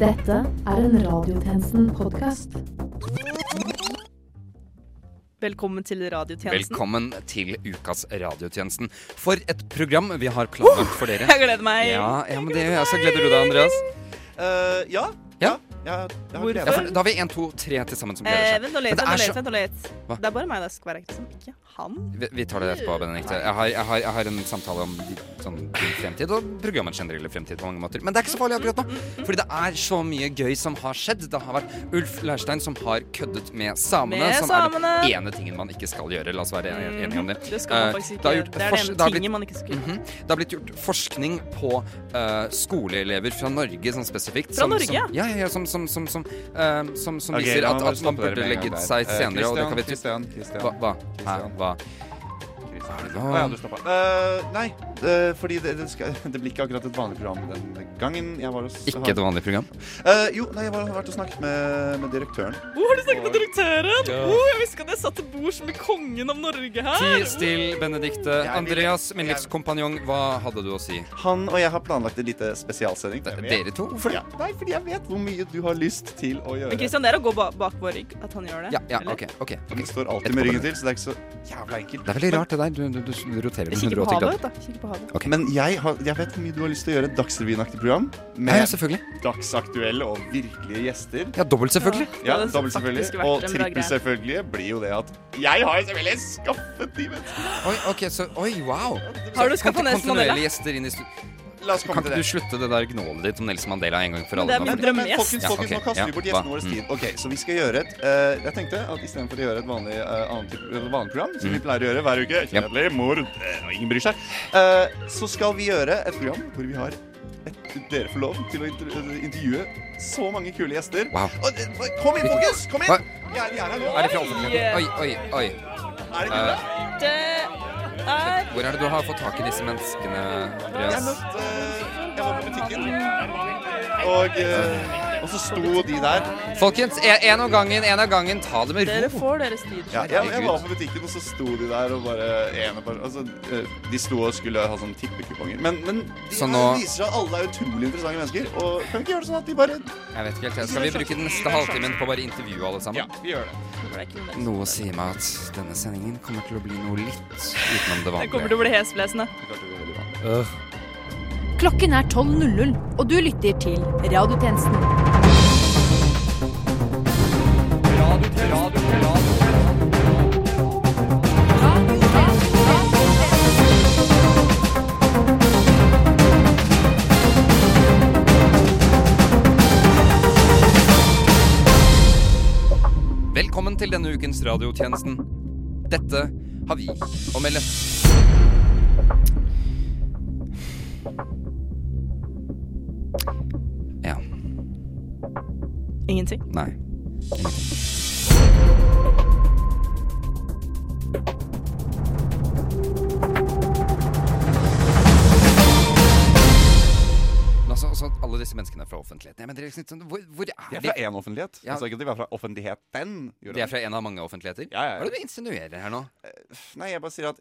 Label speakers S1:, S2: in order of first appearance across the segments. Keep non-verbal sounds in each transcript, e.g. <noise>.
S1: Dette er en Radiotjenesten-podkast.
S2: Velkommen til radiotjenesten.
S3: Velkommen til ukas Radiotjenesten. For et program vi har planlagt for dere.
S2: <laughs> Jeg gleder meg.
S3: Ja, ja men det gjør jeg også. Gleder du deg, Andreas?
S4: Eh, ja.
S3: Ja.
S4: ja, jeg har
S2: Hvorfor?
S3: Ja,
S4: gleda
S3: for
S4: meg.
S3: da har vi en, to, tre til sammen som
S2: Eh,
S3: gleder seg.
S2: vent, nå
S3: Men
S2: let,
S3: det
S2: vent, nå
S3: er
S2: let,
S3: så-
S2: vent, nå let.
S3: Hva?
S2: Det er bare meg det er skvarekte som ikke han.
S3: Vi, vi tar det etterpå, Benedicte. Jeg har, jeg, har, jeg har en samtale om din- sånn, din fremtid og programmets generelle fremtid på mange måter. Men det er ikke så farlig akkurat nå, fordi det er så mye gøy som har skjedd. Det har vært Ulf Leirstein som har køddet med samene,
S2: Med
S3: som
S2: samene. Mm,
S3: er den ene tingen man ikke skal gjøre. La oss være en- enige om det.
S2: Det skal
S3: Eh,
S2: man faktisk
S3: det har
S2: ikke.
S3: gjort
S2: Det er det
S3: fors-
S2: ene
S3: det har blitt-
S2: tinget man ikke skulle
S3: Mhm. Det har blitt gjort forskning på eh, skoleelever fra Norge sånn spesifikt.
S2: Fra
S3: som,
S2: Norge,
S3: som,
S2: ja.
S3: ja, ja, ja, som, som, som, som, eh, som, som
S4: Ok,
S3: viser
S4: la meg bare
S3: at, at man
S4: stoppe dere
S3: burde
S4: med en gang
S3: legge
S4: der.
S3: seg
S4: Eh,
S3: senere. og det kan vi
S4: Christian, Christian,
S3: Hva? hva? Hæ?
S4: Christian,
S3: Hva?
S4: Christian.
S3: Hva er det
S4: Å ja, du
S3: nå?
S4: slapp av. Eh, nei, det, fordi det, det, skal, <laughs> det blir ikke akkurat et vanlig program den gangen. Jeg var hos,
S3: Ikke et vanlig program?
S4: Eh, jo, nei, jeg var, har vært og snakket med, med direktøren.
S2: Hvor har du snakket med direktøren? jeg visste at jeg satt til bords med kongen av Norge her.
S3: Ti still, Benedikte.
S4: vil-
S3: Andreas, min livskompanjong, hva hadde du å si?
S4: Han og jeg har planlagt en lite spesialsending.
S3: D- Dere to? Hvorfor det?
S4: Ja, nei, fordi jeg vet hvor mye du har lyst til å gjøre.
S2: Men Christian, det er å gå ba bak vår rygg at han gjør det.
S3: Ja, ja,
S2: eller?
S3: OK. ok, ok.
S4: Den står alltid med ryggen til, så det er ikke så jævla enkelt.
S3: Det er veldig rart, det der. Du, du, du
S2: Jeg
S3: roterer med
S2: kikker på
S3: 180
S2: havet,
S3: grader.
S2: vet du. Jeg Kikker på havet.
S4: Men jeg, har, jeg vet hvor mye du har lyst til å gjøre et Dagsrevyen-aktig program
S3: Ja, ja,
S4: med
S3: selvfølgelig.
S4: dagsaktuelle og virkelige gjester.
S3: Ja, dobbelt, selvfølgelig.
S4: Ja,
S2: Det hadde
S4: dobbelt
S2: faktisk
S4: selvfølgelig.
S2: vært
S4: Og
S2: en bra
S4: trippel
S2: greie.
S4: selvfølgelig blir jo det at Jeg har jo selvfølgelig skaffet de menneskene!
S3: Oi, ok, så Oi, wow.
S2: Har du
S3: Så
S2: skaffet
S3: konti-
S2: Nelson Mandela?
S3: Kontinuerlige gjester inn i studio.
S4: La oss
S3: Kan
S4: komme
S3: ikke
S4: til
S3: du
S4: det.
S3: slutte det der gnålet ditt om Nelson Mandela en gang for
S2: Men
S3: alle?
S2: det er
S3: Bare
S2: min
S3: fordi-
S2: drøm.
S4: Men folkens,
S3: Ja,
S4: folkens,
S3: ok,
S4: nå kaster
S3: ja,
S4: vi bort
S3: hva? Mm.
S4: gjestene våres tid. Ok, Så vi skal gjøre et eh, Jeg tenkte at istedenfor å gjøre et vanlig eh, annet type, eh, vanlig program, som vi
S3: Mm.
S4: pleier å gjøre hver uke Kjedelig, mord, eh, og ingen bryr seg. eh, så skal vi gjøre et program hvor vi har et, dere får lov til å inter intervjue så mange kule gjester.
S3: Wow.
S4: Og, eh, kom inn, folkens! Kom
S3: Hva?
S4: inn! Vi er, vi er her nå.
S3: Er det fra offentligheten? Oi, oi, oi.
S4: Er det
S3: Eh,
S2: Det er
S3: hvor er det du har fått tak i disse menneskene,
S4: Jeg
S3: Andreas?
S4: møtte eh, Jeg var på butikken, og, eh, og så sto de der.
S3: Folkens, e- en en av gangen, en av gangen. Ta det med
S2: Dere
S3: ro.
S2: får deres tid.
S4: Ja, jeg, jeg var på butikken, og så sto de der og bare, ene bare altså, eh, De sto og skulle ha sånne tippekuponger. Men, men de
S3: Så
S4: her
S3: nå-
S4: viser seg at alle er utrolig interessante mennesker. Og kan vi ikke gjøre det sånn at de bare
S3: Jeg vet ikke helt, jeg. Skal vi bruke den neste halvtimen på å bare intervjue
S4: Ja,
S3: alle sammen?
S4: vi gjør det.
S2: Det er ikke noe mer.
S3: Noe sier meg at denne sendingen kommer til å bli noe litt utenom det
S2: Den kommer til
S3: vanlige.
S2: å bli hesblesende.
S3: Øh.
S1: Klokken er 12.00, og du lytter til Radiotjenesten.
S3: Velkommen til denne ukens radiotjenesten. Dette har vi å melde. Ja.
S2: Ingenting.
S3: Nei. Men altså, altså, alle disse menneskene er fra offentligheten. Jeg mener, liksom, sånn, hvor, hvor
S4: De
S3: er
S4: er fra
S3: de?
S4: én offentlighet.
S3: Ja.
S4: Altså ikke at de er fra offentligheten. gjorde
S3: De er fra en av mange offentligheter?
S4: Ja, ja, ja.
S3: Hva er det du insinuerer her nå?
S4: Nei, jeg bare sier at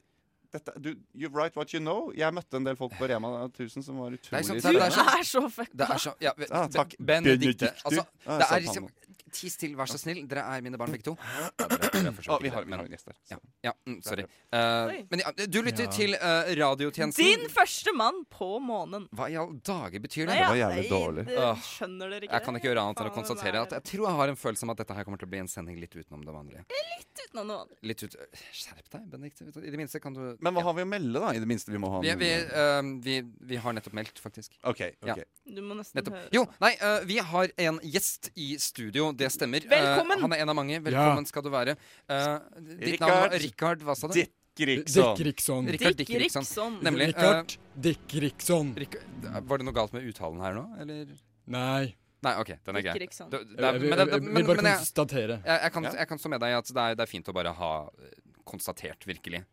S4: dette, du, You write what you know. Jeg møtte en del folk på Rema 1000 som var utrolig
S3: Nei, sant,
S2: Du
S3: det er så-
S2: er så
S3: Det
S2: fucka.
S3: er så ja,
S4: Ah, takk.
S3: Benedikte.
S4: Benedikte.
S3: Altså,
S4: Ah,
S3: det
S4: sa
S3: er
S4: han
S3: liksom
S4: nå.
S3: Tis til, vær så snill. Dere er mine barn begge
S4: <clears throat>
S3: to. Ja, dere- dere er for så
S4: Å,
S3: vidt
S4: vi
S3: ikke
S4: har
S3: det,
S4: vi har
S3: men-
S4: en gjest der.
S3: ja, ja, mm, sorry. Eh, men ja, du lytter til eh, radiotjenesten.
S2: Din første mann på månen.
S3: Hva i all dager betyr det?
S2: Nei, ja,
S4: var jævlig
S2: nei,
S4: dårlig.
S2: det-
S3: Åh,
S2: Skjønner dere ikke
S3: Jeg kan ikke gjøre annet enn å
S2: Faen, det
S3: konstatere at
S2: er
S3: jeg tror jeg har en følelse om at dette her kommer til å bli en sending litt utenom det vanlige.
S2: litt utenom noe annet.
S3: Litt ut... Skjerp deg, Benedikte. I det minste kan du
S4: Men hva har vi å melde, da? I det minste vi må ha
S3: vi,
S4: noe-
S3: vi, eh, vi, vi har nettopp meldt, faktisk.
S4: OK.
S3: Ja.
S4: ok
S2: Du må nesten
S3: Nettopp.
S2: høre.
S3: Jo, nei, eh, vi har en gjest i studio, det stemmer. Eh,
S2: Velkommen!
S3: han er en av mange. Velkommen skal du være. Eh, ditt navn var Rikard, hva sa du?
S4: Ditt Griegson.
S5: Dick Rickson.
S3: Rikard Dick
S2: Dick
S3: Rickson.
S2: Rickson.
S3: Nemlig. eh,
S5: Rikard Dick Rickson.
S3: Rikard- øh, var det noe galt med uttalen her nå, eller?
S5: Nei. Eh,
S3: Nei, OK, den er
S2: Dick
S3: grei.
S2: Rickson.
S3: Det- det er-
S5: Jeg, jeg,
S3: men
S5: jeg,
S3: det-
S5: jeg
S3: men-
S5: vil øh, bare
S3: men jeg-
S5: konstatere.
S3: jeg- jeg kan-
S4: Ja.
S3: Jeg kan stå med deg i at det er, det er fint å bare ha eh, konstatert, virkelig.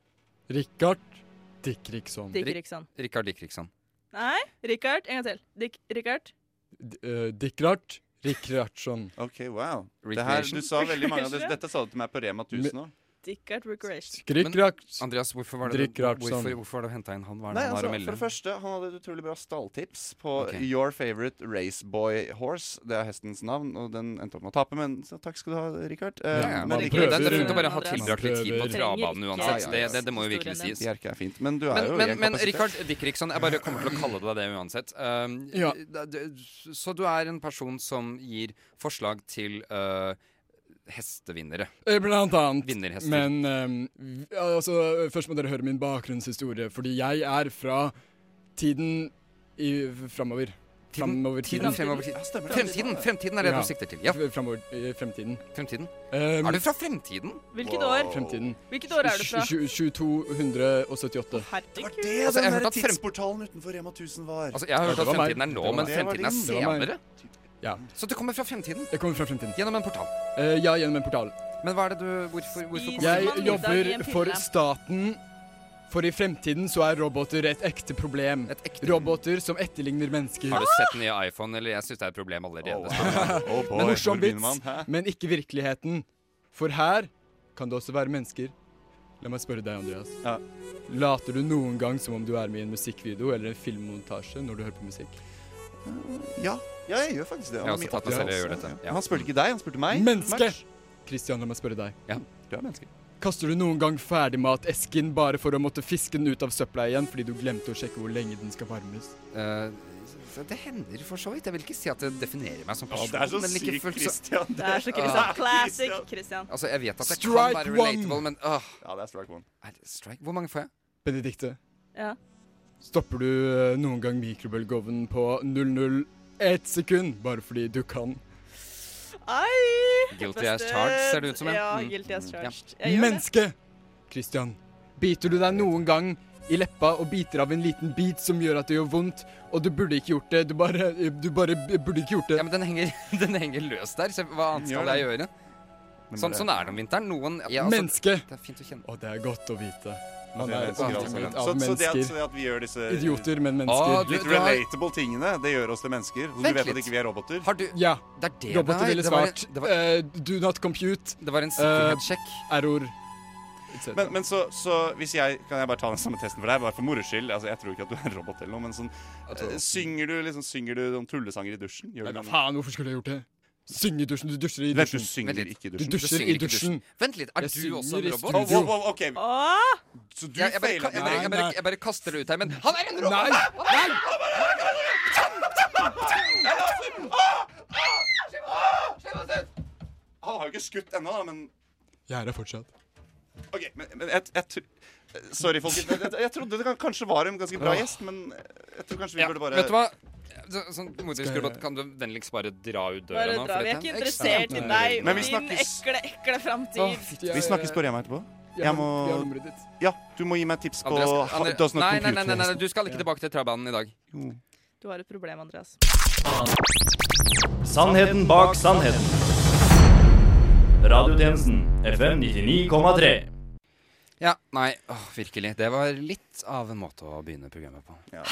S5: Rikard Dick Rickson.
S2: Dick
S3: Ri-
S2: Rickson.
S3: Rikard Dick Rickson.
S2: Nei, Richard. En gang til. Dick, Richard.
S5: D- eh, Dickrart Rickardson.
S4: OK, wow. Det her,
S3: Recreation.
S4: du sa veldig mange av disse.
S2: Recreation.
S4: Dette sa du til meg på Rema 1000 òg.
S2: Dickert Recreation.
S5: Skrikkrakt.
S3: Andreas, hvorfor var det
S5: Drikk rart
S3: hvorfor,
S5: sånn.
S3: hvorfor var det å hente inn han? Hva er det
S4: Nei, altså,
S3: han har å
S4: for
S3: melde?
S4: det første, han hadde et utrolig bra stalltips på
S3: Ok.
S4: Your Favorite Raceboy Horse. Det er hestens navn, og den endte opp med å tape, men så takk skal du ha, Richard. Eh,
S3: ja, ja,
S4: men
S3: man
S5: like-
S3: prøver, det
S5: prøver.
S3: er fint å bare ha
S2: Andreas.
S3: tilbrakt litt tid på
S5: Prøver.
S3: travbanen
S2: Trenger ikke
S3: uansett.
S4: Ja, ja,
S3: Det,
S4: ja.
S3: det, det må jo virkelig
S2: Historien
S3: sies.
S4: Bjerke er fint, men du er
S3: Men,
S4: jo i
S3: men,
S4: en
S3: men
S4: kapasitet.
S3: Richard Dickrikson, jeg bare kommer til å kalle deg det uansett. Um,
S5: Ja.
S3: da- du- Så du er en person som gir forslag til øh, hestevinnere.
S5: Eh, Blant annet.
S3: Vinnerhester.
S5: Men ehm, vi- altså, først må dere høre min bakgrunnshistorie, fordi jeg er fra tiden i framover. Framover
S3: Tiden fremover.
S4: Ja, stemmer det.
S3: Fremtiden! Fremtiden er det
S5: Ja.
S3: du sikter til. Ja,
S5: Framover, eh, fremtiden.
S3: fremtiden.
S5: Ehm,
S3: Er du fra fremtiden?
S2: Hvilket
S4: Wow.
S2: år?
S5: Fremtiden.
S2: Hvilket år er du fra?
S5: Tju- tju- 2278.
S4: Det var
S2: Herregud.
S4: det
S3: Altså, jeg
S4: den
S3: har hørt
S4: der
S3: at frem-
S4: tidsportalen utenfor Rema 1000 var.
S3: Altså, Jeg har hørt
S5: det
S3: at
S5: var meg.
S3: fremtiden er nå,
S5: Det var
S3: men
S4: meg.
S3: fremtiden er
S4: Det
S5: var meg.
S3: senere.
S5: Ja.
S3: Så du kommer fra fremtiden
S5: Jeg kommer fra fremtiden.
S3: gjennom en portal.
S5: Eh, ja, gjennom en portal.
S3: Men hva er det du Hvorfor, hvorfor
S2: Spiser
S3: kommer
S5: Jeg
S3: du
S2: man middag i en
S5: jobber
S2: pille?
S5: for staten, for i fremtiden så er roboter et ekte problem.
S3: et ekte
S5: Roboter som etterligner mennesker.
S3: Har du sett den nye iPhone, eller jeg syns det er et problem allerede.
S4: Oh, wow. <laughs> oh boy,
S5: Men morsom
S4: hvor begynner
S5: vits,
S4: man? Hæ?
S5: men ikke virkeligheten. For her kan det også være mennesker. La meg spørre deg, Andreas.
S4: Ja.
S5: Later du noen gang som om du er med i en musikkvideo eller en filmmontasje når du hører på musikk?
S4: Ja. ja, jeg gjør faktisk det.
S3: Jeg har også tatt meg selv i å gjøre dette. Ja.
S4: Han spurte ikke deg, han spurte meg.
S5: Menneske!
S4: Match.
S5: Christian, la meg spørre deg.
S4: Du er menneske.
S5: Kaster du noen gang ferdigmatesken bare for å måtte fiske den ut av søpla igjen fordi du glemte å sjekke hvor lenge den skal varmes?
S3: Eh, så det hender for så vidt. Jeg vil ikke si at det definerer meg som
S4: Ja,
S3: person.
S4: det er så
S3: men like
S4: sykt,
S3: fullt så-
S4: Christian.
S2: Det er så Christian. Classic Christian.
S3: Altså, jeg vet at det
S5: Strike
S3: kan være
S5: one!
S3: relatable, men åh,
S4: Ja, det er strike one.
S3: er det strike? Hvor mange får jeg?
S5: Benedikte,
S2: Ja.
S5: stopper du eh, noen gang mikrobølgeovnen på 001 sekund bare fordi du kan?
S2: Ai!
S3: Guilty
S2: Beste-
S3: as charged, ser det ut som.
S2: Ja,
S3: Mm.
S2: guilty as
S3: Mm, ja.
S2: charged. Jeg gjør det.
S5: Menneske! Christian, biter du deg noen gang i leppa og biter av en liten bit som gjør at det gjør vondt, og du burde ikke gjort det, du bare, du bare b- burde ikke gjort
S3: Ja,
S5: det.
S3: men den henger, <laughs> den henger løs der, så hva annet
S4: Gjør
S3: skal jeg gjøre? Sånn,
S4: eh, altså,
S3: sånn er det om vinteren. Noen ja, altså,
S5: Menneske!
S3: Det er fint å kjenne.
S5: Å, det er godt å vite.
S3: sånn
S5: Man
S4: Det er
S5: er
S4: mennesker,
S3: Ja,
S4: altså.
S5: omringet
S4: så,
S5: av
S4: så det at,
S5: mennesker.
S4: så at vi gjør disse
S5: Idioter, men
S3: eh, Å,
S5: mennesker.
S3: du-
S4: litt relatable tingene, det gjør oss til mennesker. Så
S3: Vent
S4: du vet
S3: litt.
S4: at ikke vi er roboter.
S3: Har du
S5: Ja,
S3: Det er det
S5: roboter
S3: det er.
S5: ville
S3: Det var,
S5: svart.
S3: det var,
S5: eh, do not compute,
S3: det var en sikkerhetssjekk.
S5: error, etc.
S4: Men, men så, så hvis jeg Kan jeg bare ta den samme testen for deg, bare for moro skyld? Altså, jeg tror ikke at du er en robot eller noe, men sånn eh, Synger du liksom, synger du noen tullesanger i dusjen? Gjør
S5: Nei,
S4: du
S5: hva
S4: noe?
S5: faen, hvorfor skulle jeg gjort det? Synge i dusjen, du dusjer i
S4: Vent, du
S5: dusjen.
S4: synger
S3: Vent litt.
S4: ikke i
S5: Du
S4: dusjen.
S5: dusjer i dusjen.
S3: Vent litt, er
S5: Jeg
S3: du også en
S5: synger i
S3: robot?
S4: Wow, wow,
S5: studio.
S4: wow, OK,
S2: Åh!
S4: så du
S3: Jeg, jeg, bare, jeg,
S4: feilet.
S3: bare, jeg, bare, jeg, bare, jeg bare kaster det ut her, men han er en robot!
S5: Nei! Nei!
S4: Han har jo ikke skutt ennå, da, men
S5: Jeg er her fortsatt.
S4: OK. Men, men jeg, jeg tr- eh, Sorry, folkens. Jeg, jeg, jeg trodde det kan- kanskje var en ganske bra gjest, men jeg tror kanskje vi
S3: Ja,
S4: burde bare
S3: Vet du hva? Så, sånn, Modrisk
S5: Skal jeg-
S3: robot, kan du vennligst bare dra ut døra
S2: Bare
S3: nå?
S2: dra.
S3: for
S2: Vi er
S3: dette
S2: ikke
S3: er
S2: interessert i
S5: Nei.
S2: deg
S4: Men
S2: og
S4: vi
S2: din
S4: snakkes.
S2: ekle, ekle
S3: Åh,
S2: framtid.
S3: fitt.
S4: Vi snakkes bare hjemme etterpå. Jeg må
S5: Jeg har nummeret ditt.
S4: Ja, du må gi meg tips på
S3: Andreas,
S4: ha-
S3: Andre-
S4: Does not
S3: nei, nei,
S4: compute.
S3: nei, nei, nei, du skal ikke tilbake til travbanen i dag.
S2: Du har et problem, Andreas.
S6: Sannheten bak sannheten. Radiotjenesten FM 99,3.
S3: Ja, nei, åh, virkelig. Det var litt av en måte å begynne programmet på.
S4: Ja.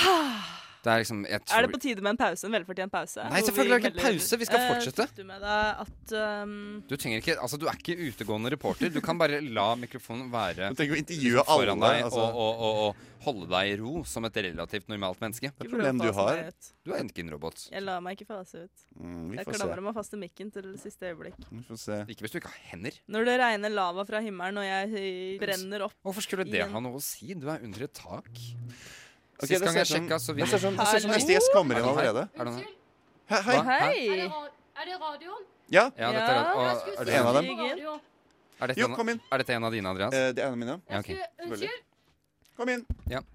S3: Det er liksom jeg tror,
S2: Er det på tide med en pause? En velfortjent pause?
S3: Nei,
S2: Hvor
S3: selvfølgelig er det ikke
S2: melder-
S3: pause. Vi skal
S2: Eh,
S3: fortsette.
S2: Fikk du med deg at um,
S3: Du trenger ikke, altså du er ikke utegående reporter. Du kan bare la mikrofonen være
S4: Du tenker å intervjue alle
S3: foran deg
S4: deg. Altså.
S3: og, og, og, og holde deg i ro som et relativt normalt menneske.
S4: Det er problem du har.
S3: Du er ikke en robot.
S2: Jeg lar meg ikke fase ut.
S4: Mm, vi
S2: Jeg
S4: får se.
S2: klamrer meg fast til mikken til det siste øyeblikk.
S4: Vi får se.
S3: Ikke hvis du ikke har hender.
S2: Når det regner lava fra himmelen og jeg brenner opp
S3: Hvorfor skulle det
S2: Igjen.
S3: ha noe å si? Du er under et tak.
S4: Ok,
S3: Sist
S4: det
S3: gang
S4: ser
S3: jeg
S4: sånn- Jeg
S3: sjekka, så
S4: ser sånn,
S3: vinner
S4: jeg ser sånn
S2: Hallo?
S4: neste gjest kommer inn
S3: Er det her?
S4: allerede.
S3: Er det noe?
S4: Hei, hei.
S3: Hva?
S7: Er det,
S2: Hei!
S7: ra- er det radioen?
S4: Ja,
S3: Ja, dette er,
S2: Ja.
S3: å, Ah,
S7: Jeg skulle
S3: er,
S7: si
S3: det,
S4: en av dem?
S7: radio.
S3: er, dette
S4: jo,
S3: en,
S4: kom inn.
S3: er dette en av dine, Andreas?
S4: Eh, det ene mine.
S3: Ja,
S7: Jeg
S3: ok.
S7: skulle, unnskyld.
S4: Kom inn.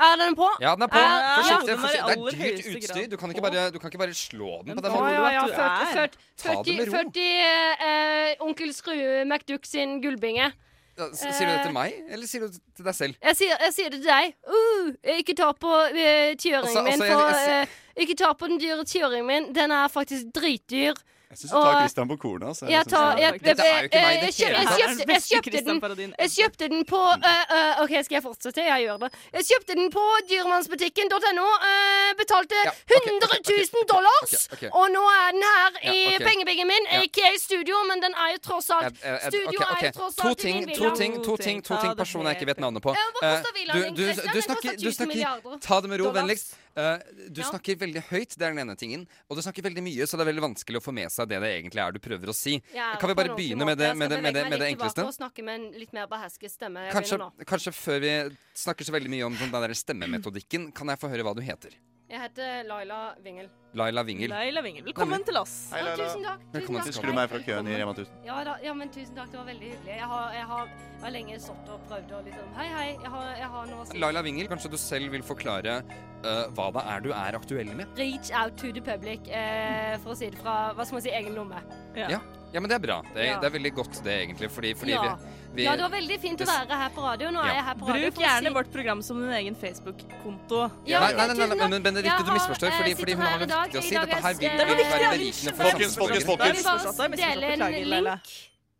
S7: Er den på?
S3: Ja, den er på.
S7: Ah, Ja,
S3: Forsiktig.
S2: den er i
S3: forsiktig.
S2: aller
S3: Det er dyrt
S2: høyeste
S3: utstyr.
S2: grad
S3: Du kan ikke
S2: på.
S3: bare, du kan ikke bare slå den på den
S2: Å,
S7: Å
S3: måten.
S7: ja, ja.
S2: Du er.
S7: 40, 40,
S3: Ta det med
S7: 40,
S3: ro.
S7: 40 eh, Onkel Skrue McDuck sin gullbinge.
S3: Ja, s- Sier du det til meg, eller sier du det til deg selv?
S7: Jeg sier, jeg sier det til deg. Uh, ikke ta på eh, tiøringen
S3: Altså, altså,
S7: min,
S3: jeg-
S7: for
S3: jeg-
S7: eh, Ikke ta på den dyre tiøringen min. Den er faktisk dritdyr.
S4: Jeg syns du tar Christian på kornet. Altså.
S7: Jeg, tar, jeg, jeg,
S3: sånn Dette er jo
S7: jeg,
S3: ikke meg i det
S7: kjøp-
S3: hele
S7: jeg,
S3: tatt.
S7: kjøpte, jeg kjøpte den Jeg kjøpte den på
S3: Mm.
S7: eh, eh, OK, skal jeg fortsette? Jeg gjør det. Jeg kjøpte den på dyremannsbutikken.no. eh, betalte
S3: Ja, ok,
S7: 100
S3: ok, ok, ok,
S7: 000 dollars.
S3: ok, ok.
S7: Og nå er den her i
S3: Ja, ok.
S7: pengebingen min.
S3: Ja.
S7: Ikke i studio, men den er jo tross alt
S3: Eh, eh, eh,
S7: Studio
S3: ok, ok.
S7: er jo tross
S3: To
S7: alt i
S3: ting,
S7: min
S3: to
S7: villa.
S3: ting, to ting, to ting personen jeg ikke vet navnet på.
S7: Ja, men hvorfor står
S3: Eh,
S7: villaen
S3: du,
S7: din,
S3: du,
S7: Christian?
S3: du
S7: Den
S3: snakker,
S7: koster
S3: du
S7: 1000
S3: snakker
S7: milliarder.
S3: Ta det med ro,
S7: Dollars.
S3: vennligst. Eh, du
S7: Ja.
S3: snakker veldig høyt, det er den ene tingen. Og du snakker veldig mye, så det er veldig vanskelig å få med seg det det egentlig er du prøver å si.
S7: Jeg er
S3: Kan vi
S7: på en
S3: bare
S7: ordentlig
S3: begynne med
S7: måte.
S3: det,
S7: Jeg
S3: med
S7: skal
S3: det, med det,
S7: bevege meg
S3: med det
S7: litt tilbake
S3: enkleste?
S7: Og snakke med en litt mer behersket stemme. Jeg
S3: Kanskje,
S7: begynner nå.
S3: kanskje før vi snakker så veldig mye om den der stemmemetodikken, kan jeg få høre hva du heter?
S7: Jeg heter Laila Wingel.
S3: Laila Wingel.
S2: Leila Wingel, velkommen til oss.
S4: Hei,
S7: Ja,
S4: Laila.
S7: tusen takk.
S3: Velkommen
S7: Tusen
S3: til
S4: Husker du meg fra køen i Rema 1000?
S7: Ja, da, ja, men tusen takk, det var veldig hyggelig. Jeg har, jeg har, jeg har lenge stått og prøvd å liksom Hei, hei, jeg har, jeg har noe å si.
S3: Laila Wingel, kanskje du selv vil forklare eh, hva det er du er aktuell med?
S7: Reach out to the public, eh, for å si det fra hva skal man si, egen lomme.
S3: Ja, men det er bra. Det,
S7: Ja.
S3: det er veldig godt, det, egentlig. Fordi, fordi
S7: Ja.
S3: vi, vi
S7: ja, det var veldig fint å
S3: det s-
S7: være her på radio. Nå
S3: Ja.
S7: er jeg her på radio.
S2: Bruk gjerne vårt program som din egen Facebook-konto.
S3: nei, nei, nei,
S7: Ja,
S3: nei,
S7: tusen
S3: nei,
S7: takk.
S3: men Benedicte, du
S7: Jeg har,
S3: misforstår.
S7: eh,
S3: Fordi,
S7: sitter
S3: fordi hun
S7: her
S3: har
S7: i
S3: noe
S7: dag.
S3: viktig å
S7: I
S3: si.
S7: dag
S3: Dette her
S7: er-
S3: vil
S7: Det er noe
S3: være
S2: viktig, ja.
S3: berikende for
S2: Folkens,
S4: folkens,
S3: samfunnsborgere.
S4: folkens.
S7: Jeg vil
S2: Misforstått
S7: bare
S2: deg, misforstått.
S7: dele en
S2: Beklager, Laila.
S7: link.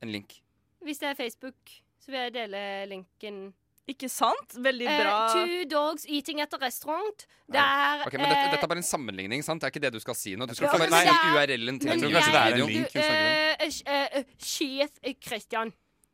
S3: En link.
S7: Hvis det er Facebook, så vil jeg dele linken.
S2: Ikke sant? Veldig
S7: Eh,
S2: bra.
S7: two dogs eating at a restaurant. Det er
S3: Ok, men dette,
S7: eh,
S3: dette er bare en sammenligning, sant? Det er ikke det du skal si nå. Du skal
S7: Ja,
S3: ikke
S7: men
S3: bare
S7: det
S3: si
S7: er-
S3: URL-en til
S7: eh,
S4: Jeg
S7: Men
S4: tror
S3: videoen.
S4: kanskje det er en
S7: du,
S4: link hun snakker om.
S7: eh, sj- eh, eh, Sjef eh, Christian.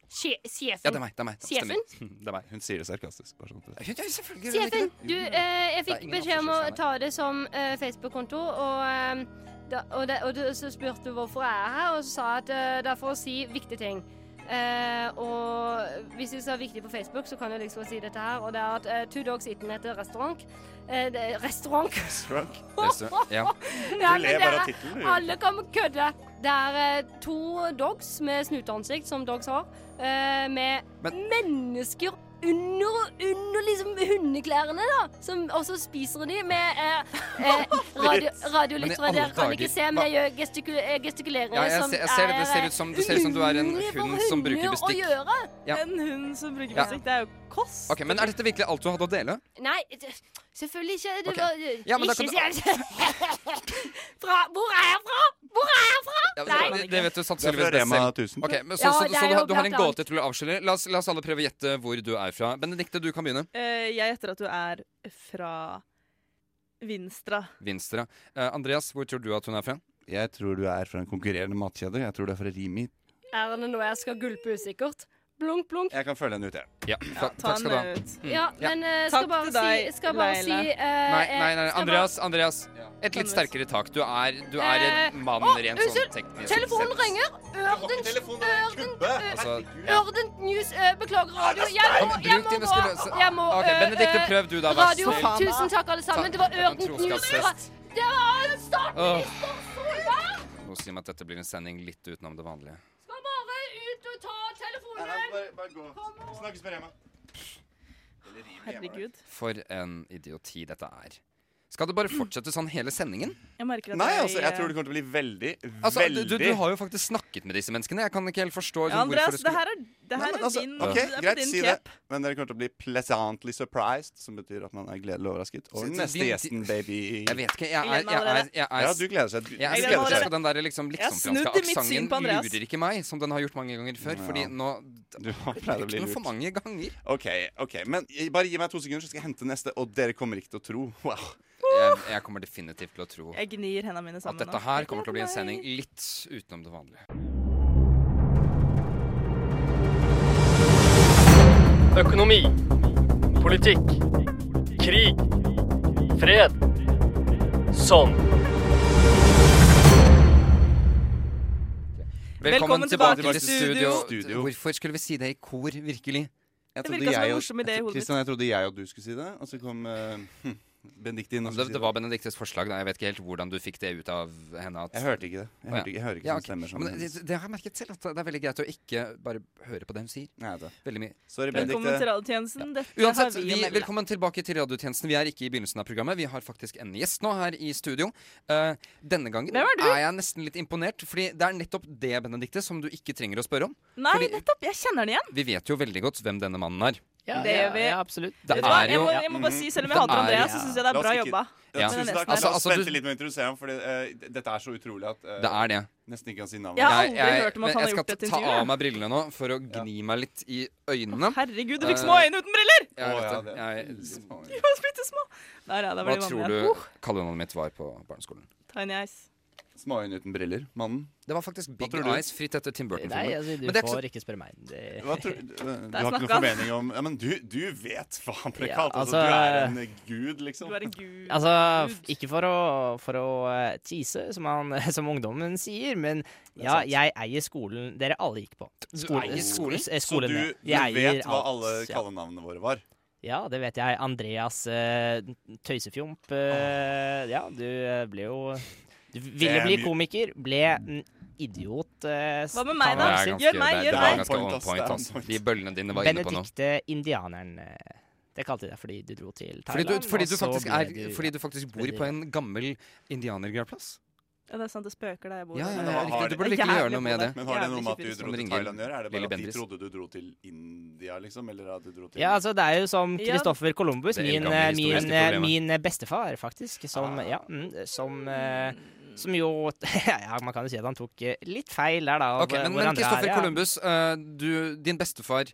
S7: Sje- Sjefen.
S3: Ja, det er meg. Det er meg.
S7: Sjefen?
S3: Stemmer. Det er meg.
S4: Hun sier det sarkastisk. Bare sånn at det-
S3: Ja, ja, selvfølgelig. gjør
S7: Sjefen,
S3: det
S7: du, eh, jeg
S3: Det er
S7: fikk
S3: ingen
S7: beskjed om å
S3: avslørselse her.
S7: ta det som eh, Facebook-konto, og, eh, da, og, det, og det, så spurte du hvorfor jeg er her, og så sa jeg at eh, det er for å si viktige ting. Eh, og hvis du er viktig på Facebook, så kan du liksom si dette her, og det er at eh, Two Dogs Eaten heter restaurant. Eh, det, restaurant? <laughs>
S4: Strunk.
S3: ikke. Det er så- Ja.
S7: Ja,
S4: Du
S7: men
S4: ler
S7: det
S4: bare
S7: er-
S4: av tittelen. du.
S7: <laughs> Alle kan kødde. Det er eh, to dogs med snuteansikt, som dogs har, eh, med
S3: Men-
S7: mennesker under, under liksom hundeklærne, da. Som, og så spiser de
S3: <laughs>
S7: med eh, eh, radio, radiolyttere.
S3: Men i alle
S7: Dere kan ikke
S3: dager,
S7: se, men
S3: hva-
S7: jeg gjør gestiku- eh, gestikuleringer
S3: Ja, jeg
S7: som
S3: ser- jeg ser det. Det ser
S7: eh,
S3: ut som- det ser ut som du er en
S7: umulig for
S3: hund som bruker
S7: hunder eh, å
S3: bestikk.
S7: gjøre.
S3: Ja.
S2: En hund som bruker
S3: Ja.
S2: musikk, det er jo kost.
S3: Ok, Men er dette virkelig alt du hadde å dele?
S7: Nei, det- selvfølgelig ikke. Det
S3: Ok.
S7: var,
S3: Ja, men da
S7: ikke
S3: kan
S7: se- <laughs> fra, Hvor er jeg fra? Hvor er jeg fra?
S3: Ja,
S7: Nei.
S3: det, det vet
S4: Det er
S3: du
S4: fra
S3: sannsynligvis best
S4: Rema
S3: selv.
S4: 1000.
S3: Ok, men så,
S7: Ja,
S3: så, så,
S7: det er
S3: du,
S7: jo
S3: har, du har en
S7: blant annet.
S3: gåte jeg tror du avslører. La oss, la oss alle prøve å gjette hvor du er fra. Benedicte, du kan begynne.
S2: Eh, jeg gjetter at du er fra Vinstra.
S3: Vinstra. Eh, Andreas, hvor tror du at hun er fra?
S4: Jeg tror du er fra en konkurrerende matkjede. Jeg tror du er fra Rimi.
S7: Er det noe jeg skal gulpe usikkert? Blunk, blunk.
S4: Jeg kan følge henne ut, jeg.
S3: Ja, ta,
S2: Ta
S3: takk skal du ha.
S2: henne ut.
S3: Mm,
S7: Ja,
S3: ja.
S7: men eh, skal
S2: Takk
S7: bare
S2: til deg,
S7: si, skal bare si
S2: Leila.
S7: eh,
S3: Nei,
S7: eh,
S3: nei, nei,
S7: skal
S3: Andreas. Andreas.
S4: Ja.
S3: Et litt
S2: Thomas.
S3: sterkere tak. Du er, du er
S7: Eh,
S3: en mann
S7: å,
S3: rent
S7: unnskyld,
S3: sånn teknisk
S7: Bare... Telefonen
S3: sett.
S7: ringer! Ørdent,
S3: Altså, ja.
S7: ørdent news eh, Beklager, radio. Jeg
S3: Kom,
S7: må, jeg
S3: bruk
S7: må
S3: det vi
S7: gå.
S3: skulle løse.
S7: Jeg må,
S3: Ah, Ok,
S7: eh,
S3: Benedicte,
S7: eh,
S3: prøv du, da. Vær
S7: Radio,
S3: så snill.
S7: tusen takk, alle sammen. Det var
S3: Ta-
S7: ørdent
S3: en
S7: news. fra-
S3: troskapstest.
S7: Det var starten
S3: Åh.
S7: Solberg!
S3: Nå sier meg at dette blir en sending litt utenom det vanlige.
S7: Skal bare ut og ta telefonen.
S4: Snakkes på Rema.
S2: Herregud.
S3: For en idioti dette er. Skal det bare fortsette sånn hele sendingen?
S2: Jeg merker at
S4: Nei,
S2: jeg
S4: altså, jeg tror det kommer til å bli veldig,
S3: Altså,
S4: veldig
S3: du, du har jo faktisk snakket med disse menneskene. Jeg kan ikke helt forstå
S2: ja,
S3: liksom, hvorfor
S2: Andreas,
S3: det
S2: det
S3: skulle
S2: her er, det her
S4: Nei, men
S2: er
S4: altså,
S2: din,
S4: ok,
S2: det er på
S4: greit,
S2: din
S4: si det.
S2: cap.
S4: Men dere kommer til å bli pleasantly surprised, som betyr at man er gledelig overrasket. Og
S3: Så- så
S4: neste
S3: din-
S4: gjesten, baby.
S3: Jeg vet ikke. Jeg
S2: Jeg gleder
S3: er,
S2: meg
S3: jeg er,
S2: allerede.
S3: jeg er,
S4: Ja, du gleder seg. Du, du
S2: altså, Jeg
S3: Jeg er
S2: gleder
S4: gleder
S3: skeptisk,
S2: allerede.
S3: og den der liksom
S2: Jeg har snudd i
S3: liksom-franske
S2: mitt syn
S3: aksenten
S2: på Andreas.
S3: lurer ikke meg, som den har gjort mange ganger før. Fordi
S4: Ja.
S3: nå
S4: seg. Du har pleid å
S3: Brukt
S4: bli
S3: den for
S4: lurt.
S3: mange ganger.
S4: Ok, ok, men gi- bare gi meg to sekunder, så skal jeg hente neste, og dere kommer ikke til å tro. Wow.
S3: Jeg, jeg kommer definitivt til å tro
S2: Jeg gnir hendene mine
S3: at
S2: sammen
S3: dette her kommer til å bli en sending litt utenom det vanlige.
S8: Økonomi. Politikk. Krig. Fred. Sånn.
S2: Velkommen tilbake til studio.
S4: Studio.
S3: Hvorfor skulle vi si det i kor, virkelig?
S4: Jeg
S2: Det virka som en morsom idé i hodet mitt.
S4: Kristian, jeg trodde jeg og du skulle si det, og så kom <laughs> uh, Benedikte inn og
S3: Det,
S4: skulle si
S3: det var Benediktes forslag. Da. Jeg vet ikke helt hvordan du fikk det ut av henne. At,
S4: Jeg hørte ikke det. Jeg, hørte ikke, jeg hører ikke
S3: Ja,
S4: sånn
S3: ok.
S4: stemmer som
S3: Men det, det har jeg merket selv, at det er veldig greit å ikke bare høre på det hun sier.
S4: Nei, vet du.
S3: Veldig mye.
S4: Sorry,
S2: Velkommen til
S4: Benedikte.
S2: radiotjenesten. Dette
S3: Uansett,
S2: har vi
S3: vi,
S2: å melde.
S3: Velkommen tilbake til radiotjenesten. Vi er ikke i begynnelsen av programmet. Vi har faktisk en gjest nå her i studio. Eh, denne gangen
S2: Hvem er du?
S3: jeg nesten litt imponert, fordi det er nettopp det, Benedikte, som du ikke trenger å spørre om.
S2: Nei,
S3: fordi-
S2: nettopp! Jeg kjenner den igjen.
S3: Vi vet jo veldig godt hvem denne mannen er.
S2: Ja,
S9: Det gjør vi.
S2: Ja, absolutt.
S3: Det
S2: Vet du hva?
S3: er
S2: Jeg
S3: jo
S2: må, jeg må
S4: Mm.
S2: bare si, Selv om jeg
S3: Det
S2: hater
S3: er-
S2: Andreas, så syns jeg det
S4: La
S2: er
S4: oss
S2: bra
S4: ikke-
S2: jobba.
S4: Ja,
S2: Men
S4: tusen
S2: den
S4: takk.
S2: nesten
S4: La
S2: er-
S3: Altså,
S4: oss
S3: altså, du-
S4: vente litt med å introdusere ham, for dette er så utrolig at eh,
S3: Det er det.
S4: nesten ikke kan si navnet.
S2: Jeg har
S3: Jeg-
S2: aldri
S3: jeg-
S2: hørt om at
S3: men
S2: han har
S3: jeg
S2: gjort
S3: skal
S2: et
S3: ta av
S2: intervju.
S3: meg brillene nå for å gni meg litt i øynene.
S2: Herregud,
S4: Eh.
S2: du fikk små øyne uten briller!
S3: Jeg
S4: Å,
S3: vet
S4: ja,
S3: det.
S4: det- <laughs>
S3: Jeg,
S2: Du var Bittesmå. Der, ja. Da
S3: hva
S2: var de
S3: tror
S2: vanlige.
S3: du
S2: Uh,
S3: kallenavnet mitt var på barneskolen?
S2: tiny eyes.
S4: Småøyne uten briller. Mannen.
S3: Det var faktisk Big
S4: tror du?
S3: Eyes, fritt etter Tim
S9: Nei,
S3: Burton-filmen.
S9: altså, du
S3: Men det er ikke
S9: får ikke spørre meg. Det...
S4: Hva tror, du du har ikke
S2: snakka han.
S4: noen formening om ja, Men du, du vet hva han ble
S9: Ja,
S4: kalt. Altså,
S9: altså,
S4: du er en eh, gud, liksom.
S2: Du er en gud.
S9: Altså, f- ikke for å, for å eh, tease, som, han, <laughs> som ungdommen sier, men ja, jeg eier skolen dere alle gikk på. Skole-
S3: eier skolen?
S9: sk- eh,
S4: Så
S9: skolen
S4: du,
S9: min.
S4: du
S9: Jeg eier
S4: vet hva
S9: alt,
S4: alle
S9: ja.
S4: kallenavnene våre var.
S9: Ja, det vet jeg. Andreas eh, Tøysefjomp. eh, ja, du eh, ble jo Du ville
S4: Damn
S9: bli
S4: you.
S9: komiker, ble en idiot. eh, s-
S2: Hva med meg,
S9: faen,
S2: da?
S9: hva
S3: Det
S9: er
S3: er
S9: det
S2: Gjør
S9: å si?
S3: ganske-
S2: meg,
S3: det-
S2: gjør
S3: det er
S4: meg.
S3: ganske on
S4: Point, ass,
S3: point,
S4: det er
S3: ass.
S4: on point.
S3: De bøllene dine var inne på noe.
S9: Benedicte indianeren. eh, Det kalte jeg deg fordi du dro til
S3: Fordi
S9: Thailand.
S3: du, fordi,
S9: og
S3: du
S9: så
S3: faktisk
S9: ble
S3: er,
S9: du-
S3: fordi du faktisk bor på en gammel indianergravplass?
S2: Ja, det er sant, det spøker der jeg bor.
S3: Ja, ja,
S4: men
S3: ja,
S4: hva har
S3: riktig. Du
S4: det-
S3: burde
S2: Jeg
S3: virkelig
S2: er
S3: gjøre noe
S2: jævlig på
S3: med det.
S2: det.
S4: Men hva har det
S2: Jævlig
S4: noe med at du
S2: fysisk.
S4: dro
S3: Som
S4: til
S3: ringer
S4: Thailand å gjøre? Er det
S3: Lille
S4: bare at de
S3: Bendris.
S4: trodde du dro til India, liksom? Eller at du dro til
S9: Ja, altså det er jo som
S2: Ja.
S9: Kristoffer Columbus,
S3: Det
S9: min,
S3: eldgamle
S9: eh,
S3: historiske
S9: min, eh,
S3: problemet.
S9: min eh, bestefar faktisk,
S3: Ah.
S9: som, ja, mm, som, eh, som jo <laughs> Ja, man kan jo si at han tok eh, litt feil der, da. av,
S3: Ok,
S9: eh,
S3: men,
S9: hvor
S3: men
S9: andre er,
S3: Kristoffer
S9: ja.
S3: Columbus, eh, du, din bestefar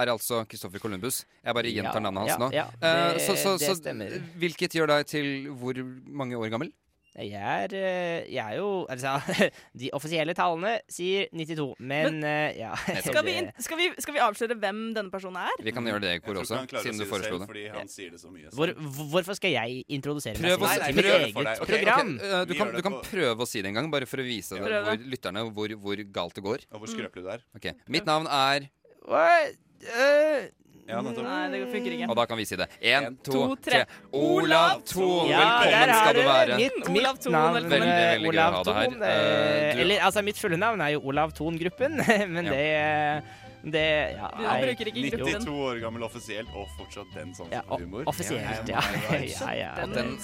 S3: er altså Kristoffer Columbus. Jeg bare
S9: Ja,
S3: gjentar navnet hans
S9: ja,
S3: nå.
S9: Ja,
S3: Eh,
S9: det,
S3: så, så,
S9: det
S3: så,
S9: stemmer.
S3: hvilket gjør deg til hvor mange år gammel?
S9: Jeg er, eh, jeg er jo Altså, <laughs> de offisielle tallene sier 92, men, eh, ja
S2: Skal vi,
S9: <laughs> det-
S2: skal, vi, skal vi avsløre hvem denne personen er?
S3: Vi kan gjøre det
S4: Mm.
S3: i
S4: Jeg tror
S3: kor
S4: ikke
S3: også,
S4: han klarer å
S3: siden
S4: si
S3: du
S4: det
S3: foreslo
S4: selv,
S3: det.
S4: Fordi han sier det så mye.
S9: hvor, hvorfor skal jeg introdusere meg
S3: Prøv å-
S9: selv
S3: nei,
S9: til mitt
S3: prøv
S9: eget
S4: det for deg. Ok, ok.
S9: program?
S3: Ok, eh,
S4: Vi
S3: du, kan,
S4: gjør
S3: du
S4: det
S3: kan
S4: på-
S3: prøve å si det en gang, bare for å vise det,
S2: Prøve.
S3: hvor, lytterne hvor, hvor galt det går.
S4: Og hvor skrøpelig du er.
S3: Ok, Mitt navn er
S9: Hva- eh,
S4: Ja, nettopp.
S2: Nei, det funker ikke.
S3: Og da kan vi si det. Én,
S4: En,
S3: to,
S2: to,
S3: tre.
S2: tre.
S3: Olav Thon!
S9: Ja,
S3: Velkommen
S9: der har
S3: skal du
S9: du
S3: være.
S9: Mitt,
S2: Olav
S9: mitt
S2: Thon,
S9: navn, veldig,
S2: velkommen.
S3: Veldig, veldig gøy å
S9: Olav
S3: ha deg her.
S9: Thon. eh,
S3: Eh, du-
S9: Eller altså, mitt fulle navn er jo Olav Thon-gruppen, <laughs> men
S3: Ja.
S9: det Det ja,
S2: Du
S9: nei,
S2: bruker ikke gruppen.
S4: 92 år gammel offisielt, og fortsatt den sånn
S9: ja, o-
S4: humor.
S9: Offisielt, ja. <laughs> ja, ja, ja.
S3: Og den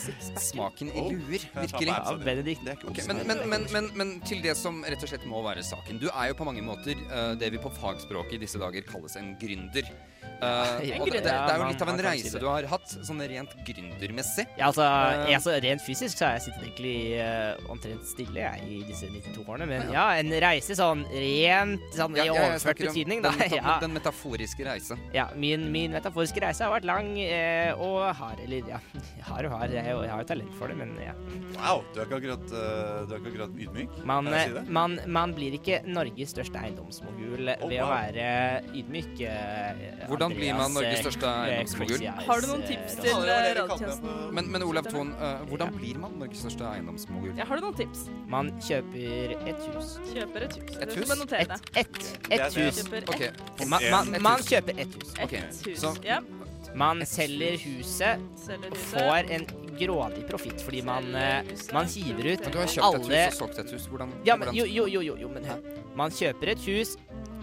S3: smaken i luer, virkelig.
S9: ja Benedikt.
S4: Det er ikke
S3: Ok,
S4: okay,
S3: men, men, men, men, men til det som rett og slett må være saken. Du er jo på mange måter eh, det vi på fagspråket i disse dager kalles en gründer. Eh,
S9: en
S3: og det,
S9: gründer.
S3: det er
S9: Ja,
S3: jo litt av
S9: man- man
S3: en
S9: kan si
S3: reise
S9: det.
S3: du har hatt, sånn rent gründermessig.
S9: Ja, altså,
S3: Eh.
S9: jeg, altså, rent fysisk så har jeg sittet egentlig eh, omtrent stille jeg, i disse 92 årene, men ja, en reise sånn rent sånn, i
S3: Ja, ja, jeg
S9: overført
S3: snakker om
S9: betydning, da.
S3: den,
S9: <laughs>
S3: meta-
S9: Ja.
S3: den metaforiske reise.
S9: Ja, min, min metaforiske reise har vært lang eh, og har Eller ja, <laughs> har og har. Jeg, jeg har jo talent for det, men ja.
S4: Wow, du er ikke akkurat, eh, du er ikke akkurat ydmyk.
S9: Man, eh,
S4: Kan jeg si det?
S9: man, man blir ikke Norges største eiendomsmogul
S4: Oh,
S9: ved å
S4: wow.
S9: være ydmyk. eh,
S3: Hvordan blir man
S9: Andreas,
S3: Norges
S9: eh,
S3: største
S9: eh,
S3: eiendomsmogul?
S9: Crazy Eyes,
S2: Har du noen
S9: eh,
S2: tips
S9: Ross.
S2: til
S4: Ja, det
S2: eh,
S4: er det vi kaller det.
S2: radiotjenesten?
S3: Men, men Olav Thon, eh, hvordan
S9: Ja.
S3: blir man Norges største eiendomsmogul?
S2: Ja, har du noen tips?
S9: Man kjøper et hus.
S2: Kjøper et hus.
S3: Et
S2: Du
S3: hus?
S2: skal bare notere
S9: Et,
S2: det.
S9: et,
S4: Det er
S9: et hus.
S4: det.
S2: Kjøper
S3: Ok,
S2: et,
S9: Man, man,
S3: Et
S9: man
S3: hus.
S9: kjøper et hus.
S2: et
S3: ok,
S2: hus.
S3: så-
S2: Ja,
S9: Man selger huset,
S2: selger
S9: og
S2: huset.
S9: får en grådig profitt fordi man, eh, man hiver ut
S3: Men du har kjøpt et
S9: Alle-
S3: hus og solgt et hus. Hvordan,
S9: Ja, men
S3: hvordan
S9: jo, jo, jo, jo, jo men hør. Man kjøper et hus,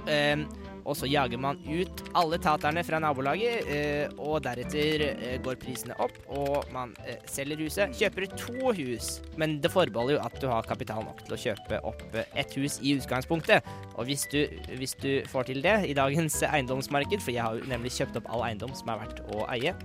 S9: ehm, og så jager man ut alle taterne fra nabolaget, eh, og deretter eh, går prisene opp, og man eh, selger huset. Kjøper to hus, men det forbeholder jo at du har kapital nok til å kjøpe opp eh, ett hus i utgangspunktet. Og hvis du, hvis du får til det i dagens eiendomsmarked, for jeg har jo nemlig kjøpt opp all eiendom som er verdt å eie,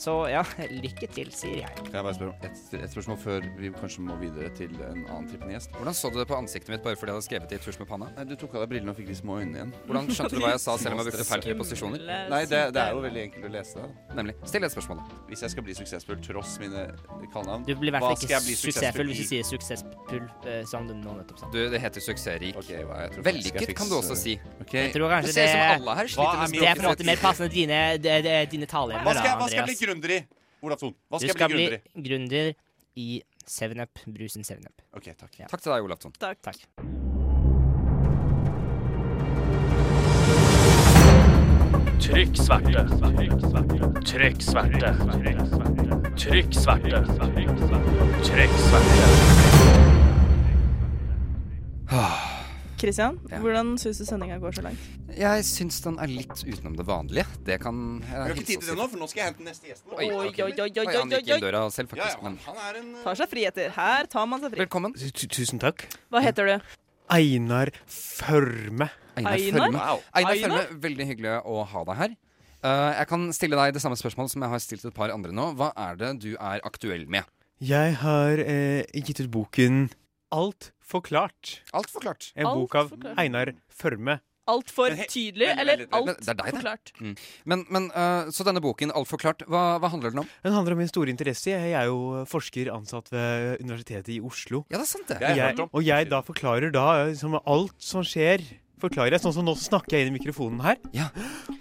S9: så ja, <laughs> lykke til, sier jeg.
S4: Kan jeg bare spørre om et, et spørsmål før vi kanskje må videre til en annen trippende gjest?
S3: Hvordan så du det på ansiktet mitt bare fordi jeg hadde skrevet det i tusj med
S9: <laughs>
S3: panna?
S4: Nei, Du tok av deg brillene og fikk de små øynene igjen.
S3: Hvordan skjønte du hva jeg sa selv om jeg brukte feil tre posisjoner?
S2: Lille
S4: Nei, det, det er jo
S2: syke.
S4: veldig enkelt å lese. da.
S3: Nemlig. Still et spørsmål.
S4: Hvis jeg skal bli suksessfull tross mine kallenavn
S9: Du blir i hvert
S4: Hva
S9: fall
S4: skal jeg
S9: ikke
S4: bli
S9: suksessfull
S4: suksessfull
S9: hvis du
S4: i?
S9: sier suksessfull, eh, som du nå nettopp sa.
S3: Du, det heter suksessrik.
S4: Ok, hva, jeg tror faktisk jeg
S3: Vellykket
S4: fikk
S3: kan du også
S4: s-
S3: si.
S4: Ok,
S9: Jeg tror
S3: Det
S9: kanskje
S3: ser ut som alle her sliter
S4: Hva er
S3: med
S4: min-
S9: Det er på en
S3: språket
S9: måte mer passende til dine, de, de, dine
S4: Hva
S9: taleevner,
S4: skal,
S9: da,
S4: jeg- hva skal jeg bli
S9: Andreas.
S4: gründer i? Olav Thon, hva
S9: Du
S4: skal jeg bli
S9: skal bli
S4: gründer i?
S9: gründer i 7up, brusen 7up.
S4: Ok, takk.
S3: Takk til deg, Olav Thon.
S2: Takk.
S9: Takk.
S8: Trykk sverte. Trykk sverte. Trykk sverte. Trykk sverte.
S2: Kristian,
S3: Ja.
S2: hvordan syns du sendinga går så langt?
S3: Jeg syns den er litt utenom det vanlige. Det kan
S4: Vi
S3: jeg
S4: har ikke tid til det nå, for nå skal jeg hente neste gjest. nå.
S3: Oi,
S2: Oi,
S3: ok.
S2: oi, oi, oi,
S3: Oi, han gikk
S2: oi,
S3: inn døra selv,
S4: Ja, ja,
S3: faktisk.
S4: han,
S3: Men
S4: han er en eh,
S2: Tar seg friheter. Her tar man seg fri.
S3: velkommen.
S10: Tusen takk.
S2: Hva heter du?
S10: Einar Førme.
S3: Einar
S2: Einar?
S3: Førme.
S4: Wow.
S3: Einar
S2: Einar?
S3: Førme, veldig hyggelig å ha deg her. Eh, jeg kan stille deg det samme spørsmålet som jeg har stilt et par andre nå. Hva er det du er aktuell med?
S10: Jeg har eh, gitt ut boken Alt forklart.
S3: Alt forklart.
S10: En
S2: Alt
S10: bok av
S2: forklart.
S10: Einar Førme.
S2: Alt for
S10: Men he-
S2: tydelig,
S10: veldig,
S2: eller
S10: veldig tydelig.
S2: alt
S3: Men det er deg, det.
S2: forklart?
S3: Men, men eh, Så denne boken, Alt forklart, hva, hva handler den om?
S10: Den handler om min store interesse. Jeg er jo forsker ansatt ved Universitetet i Oslo.
S3: Ja, det er sant, det.
S10: Og
S6: Jeg har hørt
S10: jeg,
S6: om.
S10: og jeg da forklarer da eh, liksom alt som skjer. Forklarer jeg, Sånn som nå snakker jeg inn i mikrofonen her.
S3: Ja.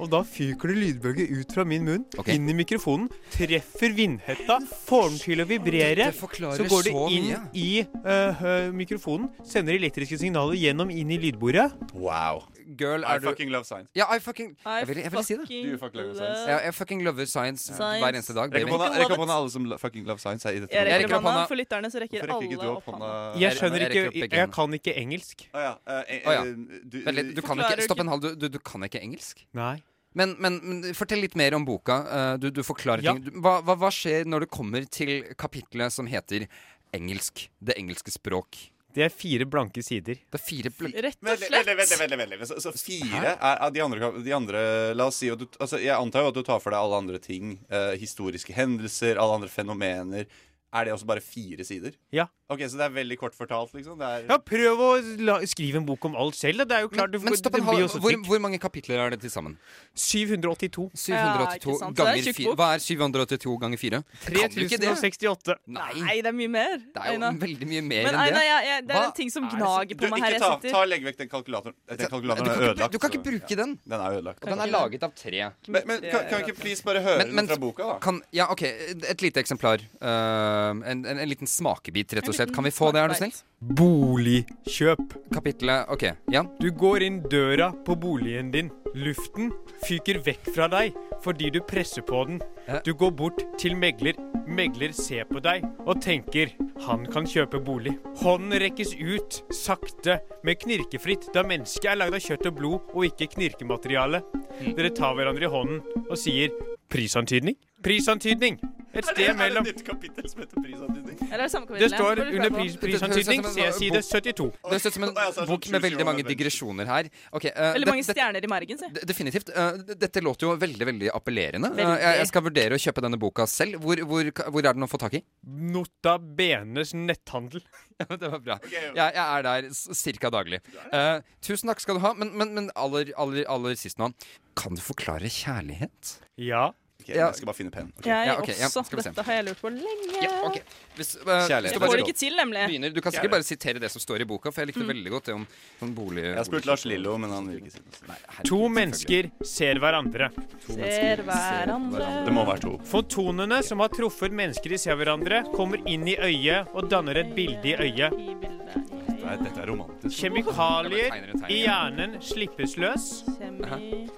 S10: Og da fyker det lydbølger ut fra min munn,
S3: Ok.
S10: inn i mikrofonen, treffer vindhetta, får den til å vibrere.
S3: Det forklarer
S10: Så går det
S3: så
S10: inn
S3: mye.
S10: i eh, eh, mikrofonen, sender elektriske signaler gjennom inn i lydbordet.
S4: Wow.
S3: Girl,
S4: I
S3: er du
S4: fucking love science.
S3: Ja, I fucking
S2: I
S3: Jeg ville vil si det.
S4: Du fucking
S2: love-
S4: science.
S3: Jeg, jeg fucking lover science,
S2: Science.
S3: hver eneste dag.
S4: Rekk
S3: Baby.
S4: opp hånda,
S2: Ikke
S4: rekk
S2: love
S4: opp hånda alle som lo- fucking love science er i dette
S2: Jeg
S3: Jeg
S2: rekker
S3: rekker opp
S2: opp hånda.
S3: hånda.
S2: For lytterne så rekker
S4: Hvorfor rekker ikke du
S2: alle
S4: opp
S2: opp hånda.
S4: hånda?
S10: Jeg
S3: Jeg- jeg
S10: skjønner ikke
S3: rekker opp
S10: Jeg,
S3: begge
S10: jeg
S3: hendene.
S10: kan ikke engelsk.
S4: Å ja. eh, eh,
S3: Å ja.
S4: Du,
S3: Vent litt, du kan
S2: Forklarer
S3: ikke Stopp
S2: ikke-
S3: en halv, du, du, du kan ikke engelsk?
S10: Nei.
S3: Men, men, men fortell litt mer om boka. eh, Du, du forklarer
S10: Ja.
S3: ting. Du- Hva, hva, hva skjer når du kommer til kapitlet som heter engelsk? Det engelske språk.
S10: Det er fire blanke sider.
S3: Det er fire bl
S2: Rett og
S4: Vent litt, vent litt, vent
S2: slett.
S4: litt, vent litt, vent litt. Så, så fire er, er de, andre, kap- de andre La oss si at du, altså, Jeg antar jo at du tar for deg alle andre ting. eh, historiske hendelser, alle andre fenomener. Er det også bare fire sider?
S10: Ja.
S4: Ok, Så det er veldig kort fortalt, liksom? Det er
S10: Ja, prøv å la, skrive en bok om alt selv. da. Det er jo klart,
S3: men,
S10: du får-
S3: men stopp
S10: det
S3: en
S10: blir jo
S3: halv
S10: så
S3: hvor,
S10: trygt.
S3: hvor mange kapitler er det til sammen?
S10: 782.
S2: Ja, ikke
S3: 782
S2: sant, så det er en
S3: ganger
S2: tjukk
S3: 4.
S2: bok.
S3: Hva er 782 ganger 4? Kan du ikke det?
S10: 3068.
S3: Nei,
S2: Nei, det er mye mer.
S3: det er jo
S2: Aina.
S3: veldig mye mer
S2: Men
S3: enn
S2: Aina,
S3: det.
S2: jeg, jeg, det er
S3: Hva
S2: en ting som
S3: er det som-
S2: gnager
S4: du,
S2: på meg her
S4: ikke
S2: jeg
S4: ta,
S2: sitter.
S4: ta Legg vekk den kalkulatoren. Eh, Den
S3: Du
S4: kalkulatoren
S3: kan
S4: er
S3: ikke,
S4: ødelagt.
S3: du kan ikke
S4: så-
S3: bruke den.
S4: Den er jo ødelagt.
S3: Og den er laget av tre.
S4: Men, men kan, kan vi ikke please bare høre
S3: Men- men-
S4: den fra boka, da?
S3: Kan, ja, ok, Et lite eksemplar. Ehm, en, en, en liten smakebit, rett og slett. Kan vi få det, er du snill?
S10: Boligkjøp.
S3: Kapittelet OK. Ja.
S10: Du går inn døra på boligen din. Luften fyker vekk fra deg fordi du presser på den.
S3: Hæ?
S10: Du går bort til megler. Megler ser på deg og tenker han kan kjøpe bolig. Hånden rekkes ut, sakte, men knirkefritt, da mennesket er lagd av kjøtt og blod og ikke knirkemateriale.
S3: Hmm.
S10: Dere tar hverandre i hånden og sier prisantydning? Prisantydning! Et
S4: Det
S10: sted
S4: er <laughs> et
S10: mellom
S4: nytt kapittel som heter prisantydning.
S2: Eller er det samme
S10: Det
S2: kapittel?
S10: står
S2: Får du
S10: under
S2: prøve på?
S10: pris, prisantydning,
S3: Det høres ut som en
S10: C-side 72.
S3: Det ser ut som en
S4: Å, ja, så er det
S3: bok
S4: sånn
S3: med veldig
S4: tusen
S3: mange
S4: år, men-
S3: digresjoner her. Ok, eh,
S2: Veldig
S3: det-
S2: mange
S3: det-
S2: stjerner i margen, si.
S3: det- Definitivt. Eh, d- dette låter jo veldig veldig appellerende. Eh,
S2: Veldig.
S3: jeg, jeg skal vurdere å kjøpe denne boka selv. Hvor, hvor, hvor er den å få tak i? <laughs>
S10: Nota benes netthandel.
S3: det var bra. Jeg, jeg er der s- cirka daglig. Eh, tusen takk skal du ha. Men, men, men aller, aller, aller sist nå. Kan du forklare kjærlighet?
S10: Ja.
S4: Ok,
S3: Ja.
S4: Jeg skal bare finne pennen. Ok.
S2: Jeg
S3: Ja, ok, ja,
S2: også.
S3: skal vi se.
S2: Dette har jeg lurt på lenge.
S3: Ja, ok. Hvis, eh, hvis
S4: Kjærlighet.
S3: du
S2: Jeg
S3: bare-
S2: får det ikke til, nemlig.
S3: begynner. Du kan sikkert bare sitere det som står i boka, for jeg likte
S10: Mm.
S3: veldig godt det om sånn bolig...
S4: Jeg har spurt Lars Lillo, men han vil ikke si noe.
S3: Nei, herregud,
S10: To
S3: selvfølgelig.
S10: mennesker ser hverandre.
S2: Ser hverandre
S4: Det må være to.
S10: Fotonene som har truffet mennesker de ser hverandre, kommer inn i øyet og danner et bilde i øyet.
S2: i bildet.
S4: Nei, dette er romantisk.
S3: Jeg bare
S10: Kjemikalier
S3: tegner en tegning.
S10: i hjernen slippes løs
S2: Kjemi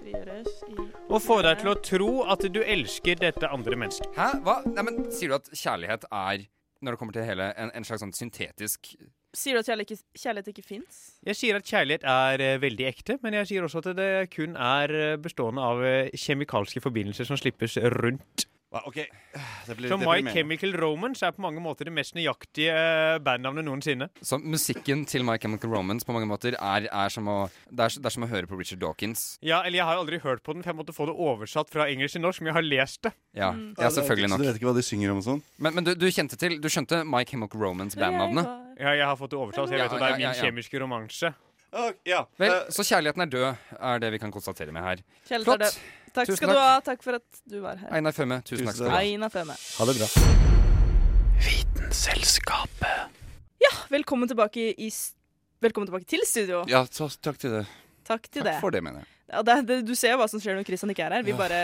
S2: frigjøres i
S10: og får deg til å tro at du elsker dette andre mennesket.
S3: Hæ? Hva? Nei, men sier du at kjærlighet er, når det kommer til det hele, en, en slags sånn syntetisk
S2: Sier du at kjærlighet ikke, kjærlighet ikke fins?
S10: Jeg sier at kjærlighet er eh, veldig ekte, men jeg sier også at det kun er eh, bestående av eh, kjemikalske forbindelser som slippes rundt.
S4: Nei, Ok, det blir
S10: Så My
S4: deprimerende.
S10: Chemical Romance er på mange måter det mest nøyaktige eh, bandnavnet noensinne.
S3: Så musikken til My Chemical Romance på mange måter er, er som å det er, det er som å høre på Richard Dawkins.
S10: Ja, eller jeg har jo aldri hørt på den, for jeg måtte få det oversatt fra engelsk til norsk, men jeg har lest det.
S3: Ja,
S2: Mm.
S3: ja
S4: Så
S3: selvfølgelig nok.
S4: Du vet ikke hva de synger om og sånn?
S3: Men, men du, du kjente til Du skjønte My Chemical Romance, bandnavnet?
S10: Ja, jeg har fått det oversatt, så jeg vet at
S3: Ja,
S10: det
S3: ja,
S10: er min
S3: ja, ja.
S10: kjemiske romanse.
S4: Ok, ja.
S3: Vel,
S4: eh,
S3: så kjærligheten er død, er det vi kan konstatere med her.
S2: Kjærlighet er
S3: Flott.
S2: død. Takk
S3: Tusen
S2: skal du ha. Takk for at du var her.
S3: Einar Føme, tusen takk skal du ha.
S2: Aina Føme.
S4: ha det bra.
S8: Selskapet.
S2: Velkommen tilbake, i, s- velkommen tilbake til studio.
S4: Ja, så, takk til det.
S2: Takk til
S3: Takk
S2: det.
S3: for det, mener jeg.
S2: Ja, det, det. Du ser jo hva som skjer når Christian ikke er her. Vi
S4: Ja.
S2: bare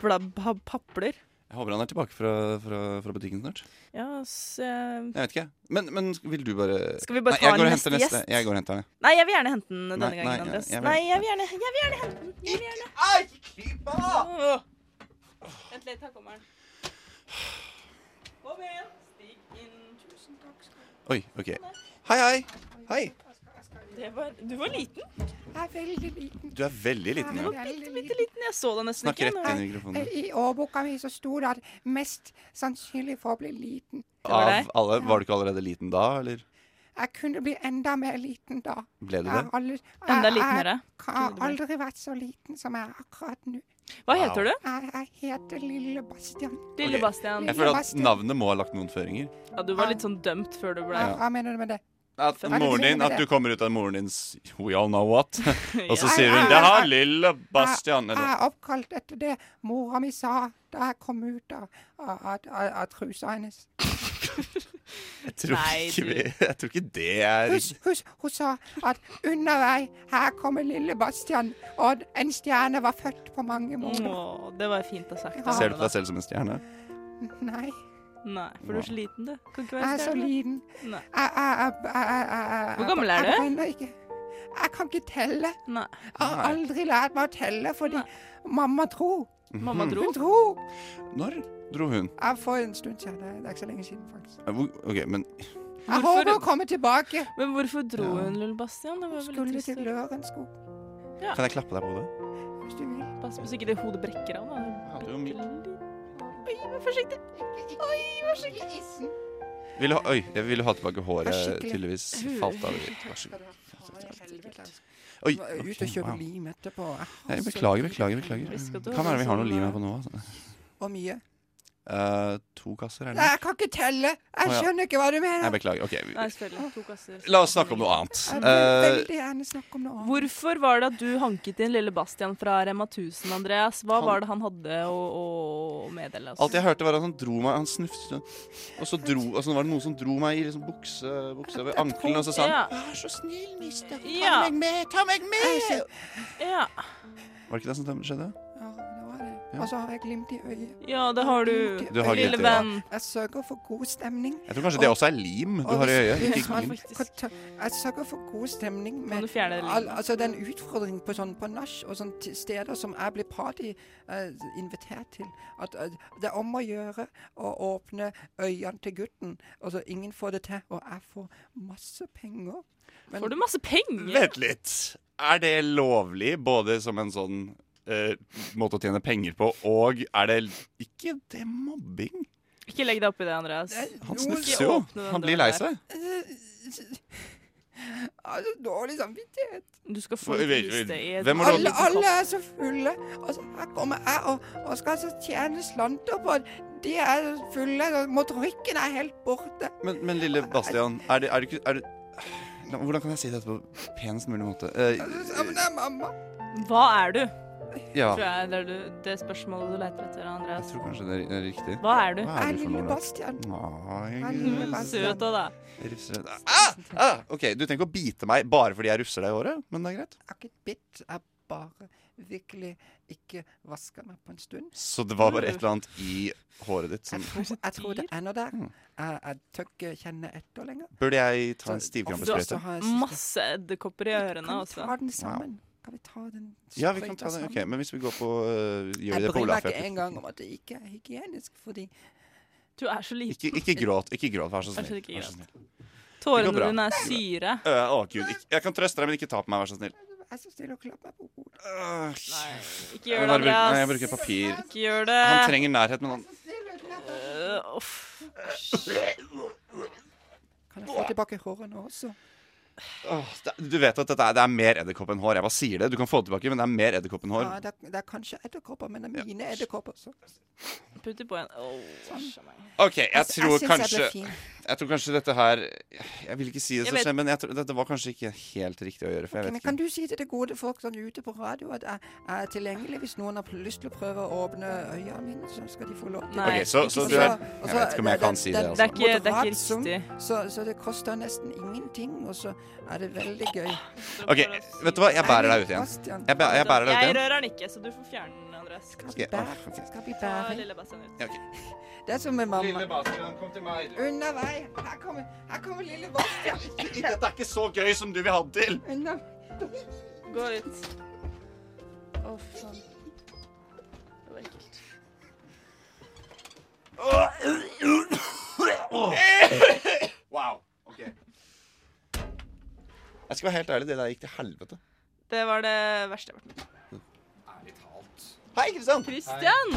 S2: bla, pa, papler.
S4: Jeg håper han er tilbake fra, fra, fra butikken snart.
S2: Ja, s- eh,
S4: Jeg vet ikke. Men, men vil du bare
S2: Skal vi bare
S4: Nei,
S2: ta
S4: jeg går
S2: en
S4: og henter
S2: neste
S4: neste.
S2: gjest?
S4: Jeg går og henter den.
S2: Nei, jeg vil gjerne hente den denne
S4: Nei,
S2: gangen,
S4: nei,
S2: Andres.
S4: jeg vil-
S2: nei, jeg vil gjerne, jeg vil gjerne hente den. Jeg vil gjerne. Åh. Vent litt, her kommer den. Kom igjen, stig inn. Tusen takk. skal du
S4: Oi, ok. Hei, hei. Hei.
S2: ha. Det var, du var liten.
S4: Du er veldig liten. Ja.
S2: Bitte, bitte liten. Jeg så deg nesten
S4: Snakk
S2: ikke.
S4: rett
S2: når-
S4: inn i mikrofonen.
S11: I årboka mi så sto det at mest sannsynlig for å bli liten.
S2: var deg.
S4: Av alle, Var du ikke allerede liten da, eller?
S11: Jeg kunne bli enda mer liten da.
S4: Ble du
S11: Jeg har
S4: det?
S11: aldri-
S2: Enda
S11: jeg-
S2: litnere?
S11: Jeg har
S2: Kunne du bli?
S11: aldri vært så liten som jeg er akkurat nå.
S2: Hva heter Wow.
S11: Jeg, jeg heter Lille Bastian.
S2: Lille Bastian.
S4: Jeg føler at navnet må ha lagt noen føringer.
S2: Ja, du var litt sånn dømt før du ble
S11: Hva hva mener du med det?
S4: At
S11: Hva er det du
S4: moren
S11: mener
S4: din,
S11: med
S4: at
S11: det?
S4: du kommer ut av moren dins We all
S11: <laughs>
S4: know what. Og så
S11: Ja.
S4: sier hun
S11: Nei, nei,
S4: Det
S11: nei,
S4: har
S11: nei.
S4: lille Bastian.
S11: Jeg
S4: Eller
S11: er oppkalt etter det mora mi sa da jeg kom ut av, av, av, av trusa hennes.
S4: Jeg tror
S11: Nei,
S4: ikke,
S11: du-
S4: vi- jeg tror ikke det er
S11: Husk, husk, hun sa at under deg, her kommer lille Bastian, og en stjerne var født på mange måneder.
S2: Åh, det var fint å sagt.
S4: Ser du på deg selv som en stjerne? Mm.
S11: Nei.
S2: Nei, for du er så liten, du. Kan ikke være
S11: Jeg er så
S2: stjerne.
S11: liten.
S2: Nei.
S11: Jeg- jeg- jeg- jeg- jeg- jeg-
S2: Hvor gammel er
S11: jeg-
S2: du?
S11: Jeg regner ikke. Jeg kan ikke telle.
S2: Nei.
S11: Jeg har
S4: Nei.
S11: aldri lært meg å telle, fordi mamma dro.
S4: Mamma Mhm. dro?
S11: Hun dro.
S4: Når dro hun?
S11: Jeg for en stund siden. Det er ikke så lenge siden, faktisk.
S4: Eh, hvor- OK, men
S11: Jeg håper hun kommer tilbake.
S2: Men hvorfor dro hun, Lull Bastian? Det var vel
S11: Skulle
S2: litt
S11: til
S2: trist.
S11: Lørenskog.
S2: Ja.
S4: Kan jeg klappe deg på hodet?
S11: Hvis du vil.
S2: Pass på så ikke det hodet brekker av. da.
S4: Hadde jo mi-
S2: Oi, vær forsiktig. Oi, vær forsiktig.
S4: Vil du ha, oi, jeg ville ha tilbake håret.
S11: Vær skikkelig.
S4: Tydeligvis falt av. Vær så god. Oi,
S11: Oi, ut og
S4: ok,
S11: kjøpe
S4: wow.
S11: lim etterpå. Jeg har
S4: Nei,
S11: så
S4: beklager,
S11: lite
S4: beklager.
S11: lyst.
S4: beklager. Kan være vi
S2: sånn
S4: har noe lim her på nå. Altså.
S11: Hvor mye?
S4: Eh, to kasser, er det?
S11: Nei, Jeg kan ikke telle. Jeg
S4: Å, ja.
S11: skjønner ikke hva du
S4: Nei,
S11: mener.
S4: beklager. OK. vi-
S2: Nei, selvfølgelig. To kasser.
S4: La oss snakke om noe
S11: Jeg
S4: annet.
S11: vil
S4: Eh,
S11: veldig gjerne snakke om noe annet.
S2: Hvorfor var det at du hanket inn lille Bastian fra Rema 1000, Andreas? Hva var det han hadde å, å meddele oss?
S4: alt jeg hørte, var at han dro meg Han snufset sånn. Og så dro, og så var det noen som dro meg i liksom bukse, bukse over ankelen, og så sa han
S2: Vær
S11: så snill, mister.
S2: Ta ja.
S11: meg med, ta meg med!
S2: Ja.
S4: Var det ikke det som skjedde?
S11: Ja, det var det.
S4: Ja.
S11: Og så har jeg glimt i øyet.
S2: Ja, det har du.
S4: Du har glimt i
S11: lille
S4: øyet.
S11: venn. Jeg sørger for god stemning.
S4: Jeg tror kanskje det også er lim du
S11: og
S4: har i
S11: hvis-
S4: øyet.
S11: hvis
S4: Ikke
S11: man-
S4: glimt.
S11: Altså, Jeg sørger for god stemning
S2: Kan du
S11: med
S2: fjerne det
S11: al,
S2: limet?
S11: altså den utfordringen på sånn på nach og sånn til steder som jeg blir party eh, invitert til. At eh, det er om å gjøre å åpne øynene til gutten. Altså ingen får det til, og jeg får masse penger. Men-
S2: Får du masse penger?
S4: Vent litt. Er det lovlig både som en sånn eh, måte å tjene penger på, og er det ikke det mobbing?
S2: Ikke legg deg opp i det, Andreas.
S4: Han
S2: Ikke
S4: snufser jo.
S2: åpne den
S4: Han blir
S2: døren
S4: lei
S2: der.
S4: seg.
S11: Altså, dårlig samvittighet.
S2: Du skal få
S4: Hvem-
S2: litt liste i et
S4: hvem var det-
S11: Alle, alle er så fulle. Og så her kommer jeg og, og skal altså tjene slanter på at De er så fulle. og Motorikken er helt borte.
S4: Men, men lille Bastian, er det, er det ikke er det, La- Hvordan kan jeg si dette på penest mulig måte? Eh,
S2: Hva er du?
S4: Ja.
S2: Tror jeg det er du, det spørsmålet du leter etter, Andreas.
S4: jeg tror kanskje det er riktig.
S2: Hva er du?
S4: Hva
S2: Jeg
S4: er
S2: er
S4: du for noe,
S2: lille
S4: da?
S2: Bastian.
S4: Nei,
S2: Jeg er lille Bastian. Søt av deg.
S4: Rufsrød. Ah! Ah! OK, du trenger ikke å bite meg bare fordi jeg rufser deg i håret, men det er greit.
S11: Jeg har ikke bitt. Jeg bare virkelig ikke vaska meg på en stund.
S4: Så det var bare et eller annet i håret ditt som
S11: Jeg tror det
S4: Hmm.
S11: er noe der. Jeg, jeg tør ikke kjenne etter lenger.
S4: Burde jeg ta
S2: Du har
S4: en
S2: også
S4: stivkrampesprøyte?
S2: masse edderkopper i ørene også.
S11: Kan vi ta den sammen? Kan vi ta den
S4: Ja, vi kan
S11: sprøyta
S4: ta den.
S11: sammen?
S4: ok, Men hvis vi går på øh, Gjør vi
S11: Jeg
S4: det på
S11: bryr meg
S4: Olaf?
S11: ikke engang om at det ikke er hygienisk, fordi
S2: Du er så liten.
S4: Ikke, ikke gråt, ikke gråt, vær så
S2: Vær så
S4: snill.
S2: ikke gråt.
S4: Vær så snill. Det går
S2: Tårene
S4: bra.
S2: dine er syre.
S4: Øh, å, Gud. ikke- Jeg kan trøste deg, men ikke ta på meg, vær så snill. Øh,
S11: Jeg er så snill og klapper meg på hodet.
S2: Ikke gjør
S4: Jeg
S2: det,
S4: bare bruker-
S2: Andreas.
S4: Nei, jeg bruker papir.
S2: Ikke gjør det.
S4: Han trenger nærhet, men han
S2: Øh, uff.
S11: Kan jeg få tilbake håret nå også?
S4: Åh, det- Du vet at dette er, det er mer edderkopp enn hår. Jeg bare sier det. Du kan få det tilbake, men det er mer edderkopp enn
S11: Ja,
S4: hår.
S11: det, er- det er kanskje edderkopper, men det er mine edderkopper. Så.
S2: Putt det på igjen. Åh, æsj a meg.
S4: OK, jeg
S11: Altså, jeg
S4: tror
S11: synes jeg ble
S4: kanskje
S11: fin.
S4: Jeg tror kanskje dette her Jeg vil ikke si det
S11: Jeg
S4: så
S11: vet-
S4: slemt, men jeg tror, dette var kanskje ikke helt riktig å gjøre, for jeg
S11: Men
S4: vet
S11: kan
S4: ikke.
S11: du si til det gode folk sånn ute på radio at jeg, jeg er tilgjengelig hvis noen har pl- lyst til å prøve å åpne øynene mine, så skal de få lov til
S4: Nei. Ok, så- så
S11: Ikke
S4: du er-
S11: sant? Og
S4: jeg
S11: så-
S4: vet ikke om jeg kan si det, altså.
S2: Det er ikke- det er ikke
S11: moderat sum,
S2: riktig.
S11: Så, så det koster nesten ingenting, og så er det veldig gøy.
S4: OK, vet du hva? Jeg bærer deg ut igjen.
S11: Bastian.
S4: Jeg, bæ- jeg bærer deg
S2: Altså, Jeg
S4: ut igjen.
S2: rører den ikke, så du får fjerne den, Andreas.
S4: Skal jeg- åh, ok.
S11: Skal bli
S2: Ta
S11: bæring.
S2: lille Bastian ut.
S11: Det er som med mamma.
S4: Lille Bastian, kom til meg.
S11: Unna vei. Her kommer, her kommer lille Bastian.
S4: Dette er ikke så gøy som du vil ha det til.
S11: Unna.
S2: Gå ut. Å, fy faen. Det var ekkelt.
S4: Wow. OK. Jeg skal være helt ærlig, det der gikk til helvete.
S2: Det var det verste jeg har vært med på.
S4: Hei, Kristian.
S2: Kristian!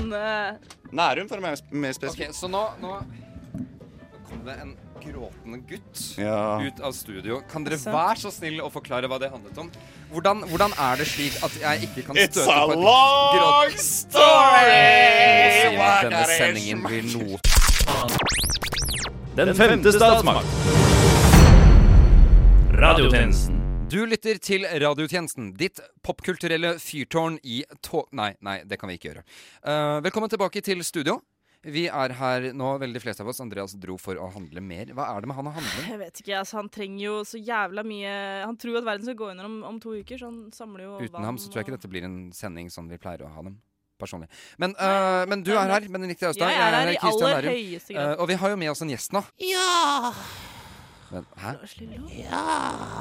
S4: Nærum, for å være mer spesifikk.
S3: Ok, så nå, nå Nå kom det en gråtende gutt
S4: Ja.
S3: ut av studio. Kan dere
S4: Så.
S3: være så snill å forklare hva det handlet om? Hvordan, hvordan er det slik at jeg ikke kan
S4: It's
S3: støte
S4: a
S3: på et
S4: long
S3: gråt-
S4: story!
S3: Og si
S4: What
S3: at Denne
S4: it is.
S3: sendingen blir noe
S6: Den femte statsmakt. Radiotjenesten.
S3: Du lytter til Radiotjenesten, ditt popkulturelle fyrtårn i tå... Nei, nei, det kan vi ikke gjøre. Eh, velkommen tilbake til studio. Vi er her nå, veldig flest av oss. Andreas dro for å handle mer. Hva er det med han og
S2: <laughs>
S3: handling?
S2: Jeg vet ikke, altså Han trenger jo så jævla mye Han tror jo at verden skal gå under om, om to uker, så han samler jo
S3: Uten
S2: vann
S3: ham så tror jeg
S2: og-
S3: ikke dette blir en sending som vi pleier å ha dem. Personlig. Men, eh, men du er her. Benedicte Austad.
S2: Jeg er her i aller høyeste grad.
S3: Eh, og vi har jo med oss en gjest nå.
S2: Ja!
S3: Men, hæ?
S2: Ja!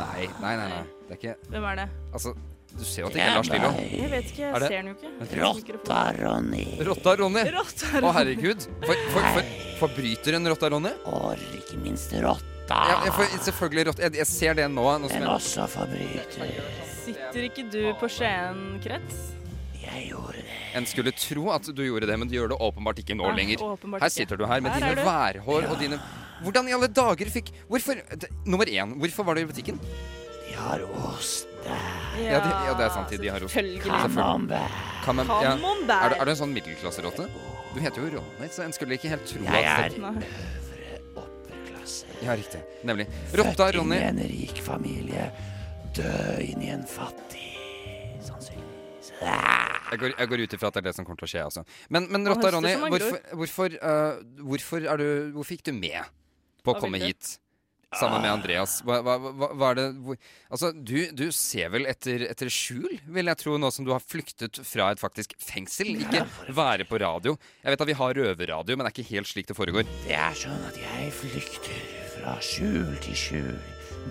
S3: Nei, nei, nei. nei. Det er ikke
S2: Hvem er det?
S3: Altså, du ser jo at
S2: Det
S3: det ikke
S2: er
S3: er Lars Lillo.
S2: meg. Jeg vet ikke, jeg
S3: Er det-
S2: ser den jo ikke.
S3: Vent.
S12: Rotta-Ronny.
S3: Rotta-Ronny?
S2: Rotta-Ronny.
S3: Å, herregud. For, for, for, forbryter en rotta-Ronny? Og ikke minst rotta. Ja, jeg får, selvfølgelig rotta. Jeg, jeg ser det nå. nå som
S12: Men
S3: jeg-
S12: også forbryter.
S2: Sitter ikke du på Skien krets? Jeg gjorde det.
S3: En skulle tro at du gjorde det, men du gjør det åpenbart ikke nå
S2: Nei,
S3: lenger.
S2: åpenbart
S3: Her
S2: ikke.
S3: sitter du her med
S2: Her er
S3: dine
S2: du.
S3: værhår og
S2: Ja.
S3: dine Hvordan i alle dager fikk Hvorfor det, Nummer én, hvorfor var du i butikken? De har ost. Ja, de, ja, det er sant. de- De har ost.
S2: selvfølgelig.
S3: Camembert. Camembert. Ja.
S2: Camembert.
S3: Er, du- er du en sånn middelklasserotte? Du heter jo Ronny, så en skulle ikke helt tro
S12: Jeg
S3: at
S12: er
S2: Nei.
S3: Ja, riktig. Nemlig.
S12: Født
S3: Rotta,
S12: inn
S3: Ronny.
S12: i en rik familie, død inn i en fattig Sannsynligvis. Ah,
S3: Jeg går, jeg går ut ifra at det er det som kommer til å skje. Altså. Men, men
S12: Han
S3: Rotta
S12: høster
S3: Ronny,
S12: som han
S3: hvorfor, hvorfor, eh, hvorfor, er du, hvorfor gikk du med på å
S12: Hva
S3: komme
S12: vil du?
S3: hit sammen med Andreas? Hva, hva, hva, hva er det hvor, Altså, du, du ser vel etter, etter skjul, vil jeg tro, nå som du har flyktet fra et faktisk fengsel? Ikke være på radio. Jeg vet at vi har røverradio, men det er ikke helt slik det foregår.
S12: Det er sånn at jeg flykter fra skjul til skjul,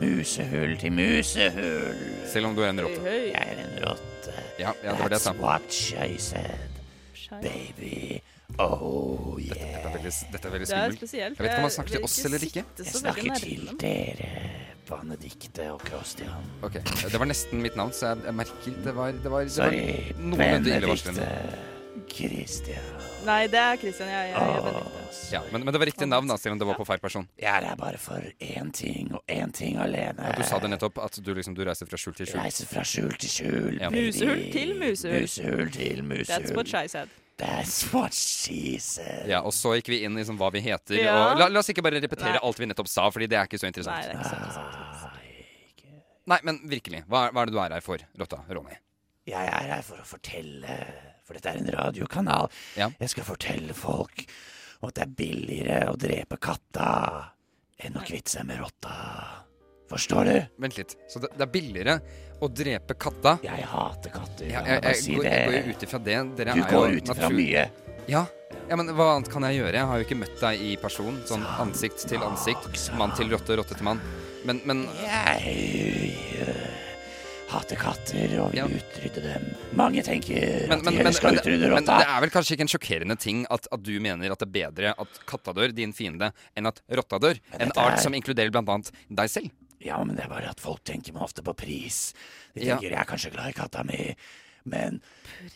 S12: musehull til musehull.
S3: Selv om du er en rotte.
S12: Jeg er en rotte.
S3: Ja, ja, det var det jeg sa.
S12: That's what she said, baby. Oh yeah. Dette,
S3: er veldig, dette
S2: veldig Det er skummelt. spesielt. Jeg vet ikke om han snakker til oss eller ikke. sitte
S12: Jeg
S2: så veldig
S12: snakker
S2: nærme
S12: til
S2: dem.
S12: dere, Benedikte og Christian.
S3: Ok, Det var nesten mitt navn, så jeg, jeg merker det var, det var, det var
S12: Sorry,
S3: noenlunde illevarslende.
S12: Benedikte Christian.
S2: Nei, det er Christian. Jeg, jeg, jeg, jeg
S3: Ja, men, men det var riktig navn, da, selv om det var på feil person.
S12: Jeg er her bare for én ting, og én ting alene.
S3: Ja, du sa det nettopp, at du, liksom, du reiser fra skjul til skjul.
S12: Reiser fra skjul til skjul,
S3: Ja.
S2: Musehull til musehull.
S12: Musehull til
S2: That's what
S12: musehull.
S2: Shai said.
S12: That's what she said.
S3: Ja, og så gikk vi inn i liksom, hva vi heter.
S2: Ja.
S3: Og la, la oss ikke bare repetere
S2: Nei.
S3: alt vi nettopp sa, Fordi det er ikke så
S2: Nei,
S3: interessant.
S2: det er ikke altså. så interessant.
S12: Ah,
S3: Nei, men virkelig, hva, er- hva er det du er her for, Rotta Ronny?
S12: Jeg er her for å fortelle, for dette er en radiokanal. Jeg skal fortelle folk om at det er billigere å drepe katta enn å kvitte seg med rotta. Forstår du?
S3: Vent litt. Så det, det er billigere å drepe katta
S12: Jeg hater katter.
S3: Ja,
S12: la
S3: jeg,
S12: meg bare
S3: jeg,
S12: si
S3: går, jeg
S12: det.
S3: går jo ut ifra det. Dere
S12: Du
S3: er
S12: går
S3: jo
S12: ut ifra
S3: natur-
S12: mye.
S3: Ja. ja, men hva annet kan jeg gjøre? Jeg har jo ikke møtt deg i person. Sånn ansikt til ansikt. Mann til rotte, rotte til mann. Men, men
S12: Jeg øh, hater katter og vil utrydde dem. Mange tenker
S3: Men,
S12: at
S3: men,
S12: dere
S3: men,
S12: skal
S3: men, det-
S12: utrydde
S3: men
S12: rotta.
S3: det er vel kanskje ikke en sjokkerende ting at, at du mener at det er bedre at katta dør, din fiende, enn at rotta dør? En
S12: dette
S3: art
S12: er-
S3: som inkluderer blant annet deg selv?
S12: Ja, men det er bare at folk tenker meg ofte på pris. De
S3: Ja.
S12: tenker jeg er kanskje glad i katta mi, men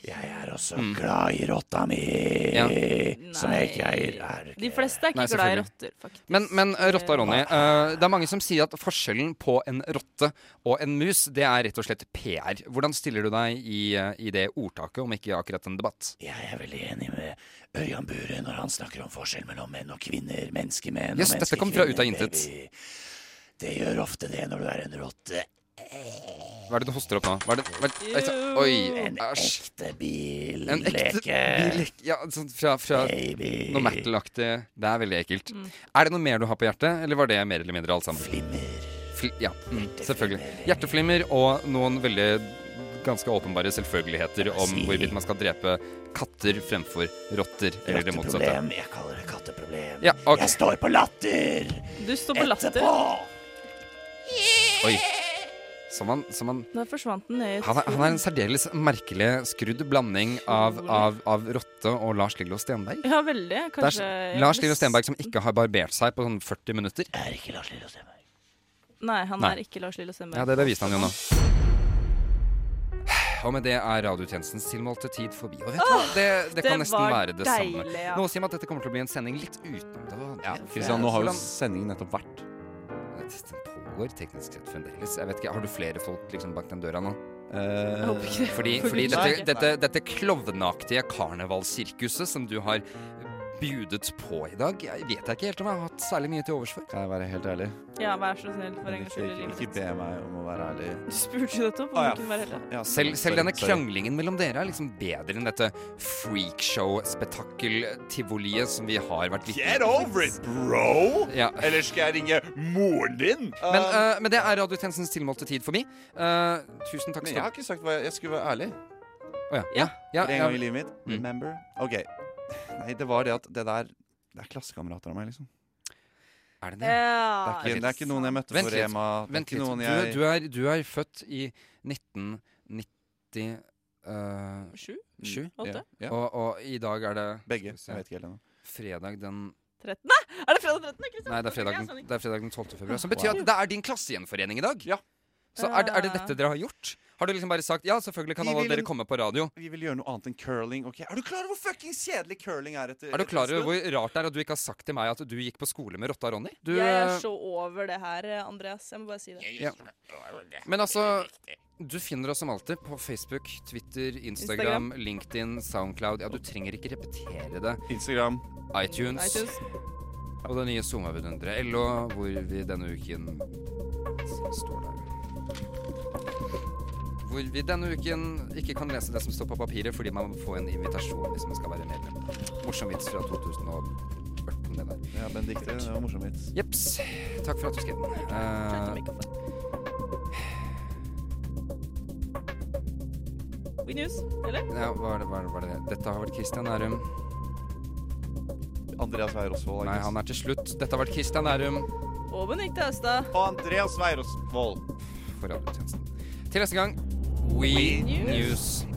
S12: jeg er også
S3: Mm.
S12: glad i rotta mi,
S3: Ja. Ah,
S12: som jeg ikke eier. Er
S2: De fleste er ikke glad
S3: Nei,
S2: i
S3: selvfølgelig.
S2: rotter, faktisk.
S3: Men, men eh, rotta, Ronny. eh, det er mange som sier at forskjellen på en rotte og en mus, det er rett og slett PR. Hvordan stiller du deg i, eh, i det ordtaket, om ikke akkurat en debatt?
S12: Jeg er veldig enig med Ørjan Bure når han snakker om forskjell mellom menn og kvinner, menneskemenn
S3: Yes,
S12: og
S3: dette kom fra ut av
S12: menneskekvinner,
S3: intet.
S12: baby. Det gjør ofte det når du er en rotte.
S3: Hva er det du hoster opp nå? Hva er det, hva er det, altså,
S12: En
S3: oi, æsj.
S12: ekte bil.
S3: En ekte
S12: Leke.
S3: billeke. Ja, sånn fra, fra noe metal-aktig. Det er veldig ekkelt. Er det noe mer du har på hjertet, eller var det mer eller mindre alt sammen?
S12: Flimmer.
S3: ja, mm, selvfølgelig. Hjerteflimmer og noen veldig ganske åpenbare selvfølgeligheter om hvorvidt man skal drepe katter fremfor rotter, eller det motsatte.
S12: Rotteproblem. Jeg kaller det katteproblem.
S3: Ja, ok.
S12: Jeg står på latter!
S2: Du står på latter.
S3: Oi. Som han, som han
S2: Da forsvant den ned i et
S3: han er, han er en særdeles merkelig skrudd blanding av, av, av rotte og Lars Lillo Stenberg.
S2: Ja, veldig.
S3: Det er
S2: Kanskje
S3: s- Lars Lillo Stenberg som ikke har barbert seg på sånn 40 minutter.
S12: Er ikke Lars Lillo Stenberg.
S2: Nei, han
S3: Nei.
S2: er ikke Lars Lillo Stenberg.
S3: Ja, det beviste han jo nå. <sighs> Og med det er radiotjenestens tilmålte tid forbi. Og vet du hva,
S2: Åh,
S3: det, det kan
S2: det
S3: nesten
S2: var
S3: være det samme.
S2: deilig, ja.
S3: Noe sier meg at dette kommer til å bli en sending litt utenom det vanlige.
S4: Kristian, nå har jo
S3: Hvordan-
S4: sendingen nettopp vært.
S3: Den pågår teknisk sett fremdeles. Jeg vet ikke, Har du flere folk liksom bak den døra nå?
S4: Eh, Jeg håper ikke det.
S3: Fordi,
S4: Håper
S3: fordi
S4: ikke.
S3: dette,
S4: Nei.
S3: dette, dette klovnaktige karnevalsirkuset som du har bjudet på i dag, jeg vet jeg ikke helt om jeg har hatt særlig mye til overs for.
S4: Kan jeg være helt ærlig?
S2: Ja, vær så snill, for en gangs skyld i
S4: Ikke,
S2: livet
S4: ikke be meg om å være ærlig.
S2: Du spurte jo nettopp om
S4: Ah, ja.
S2: du kunne være heldig.
S4: Ja,
S3: Selv, selv denne
S4: Mm, sorry, sorry.
S3: kranglingen mellom dere er liksom bedre enn dette freakshow-spetakkel-tivoliet som vi har vært vitne
S12: Get over it, bro!
S3: Ja.
S12: Eller skal jeg ringe moren din?
S3: Men,
S4: Um,
S3: eh, men det er radiotjenestens tilmålte tid forbi. Uh, tusen takk
S4: Men jeg har ikke sagt hva jeg, jeg skulle være ærlig.
S3: Å ja. Ja. ja,
S4: For en
S3: ja. Mm.
S4: gang i livet mitt. Remember? OK. Nei, det var det at det der Det er klassekamerater av meg, liksom.
S3: Er
S2: det? Ja.
S4: Det er ikke, det er ikke noen jeg møtte
S3: Ah,
S4: på
S3: Vent litt.
S4: Rema. Det er
S3: Vent
S4: ikke
S3: litt.
S4: noen
S3: Du,
S4: jeg
S3: du, er, du er født i 1990 eh,
S2: Sju?
S3: sju?
S4: Mm,
S2: Åtte?
S3: Ja. Og, og i dag er det Begge.
S4: Jeg vet ikke helt ennå.
S3: Fredag den
S2: 13. Nei, Er det fredag 13.? Kristian?
S3: Nei, det er fredag,
S2: Ja,
S3: den-
S2: sånn.
S3: det er fredag den 12. februar. Som
S2: Wow. Eh.
S3: betyr at det er din klassegjenforening i dag. Så er det, er det dette dere har gjort? Har du liksom bare sagt ja, selvfølgelig kan
S4: Vi
S3: alle
S4: vil-
S3: dere komme på radio?
S4: Vi vil gjøre noe annet enn curling. ok? Er du klar over hvor fuckings kjedelig curling er? etter
S3: Er du klar over
S4: etter-
S3: hvor rart det er at du ikke har sagt til meg at du gikk på skole med rotta Ronny? Du,
S2: Jeg er
S3: eh,
S2: så over det her, eh, Andreas. Jeg må bare si det.
S3: Ja. Men altså, du finner oss som alltid på Facebook, Twitter, Instagram,
S2: Instagram.
S3: LinkedIn, Soundcloud. Ja, du trenger ikke repetere det.
S4: Instagram.
S3: iTunes.
S2: iTunes.
S3: Og det nye Zoom-vidunderet LO, hvor vi denne uken står der. Hvor vi denne uken ikke kan lese det som står på papiret, fordi man må få en invitasjon hvis man skal være medlem. Morsom vits fra 2014, det der.
S4: Ja, Benedicte, det var morsom vits.
S3: Jeps. Takk for at du skrev den. Eh,
S2: <sighs> Good news, eller?
S3: ja, hva er det, hva er det, hva er det? Dette har vært Kristian Nærum.
S4: Andreas Weier Osvold.
S3: Nei, han er til slutt. Dette har vært Kristian Nærum.
S2: Og Benedicte Austad.
S4: Og Andreas Weier Osvold.
S3: For radiotjenesten. Til neste gang, We,
S2: News.
S3: News.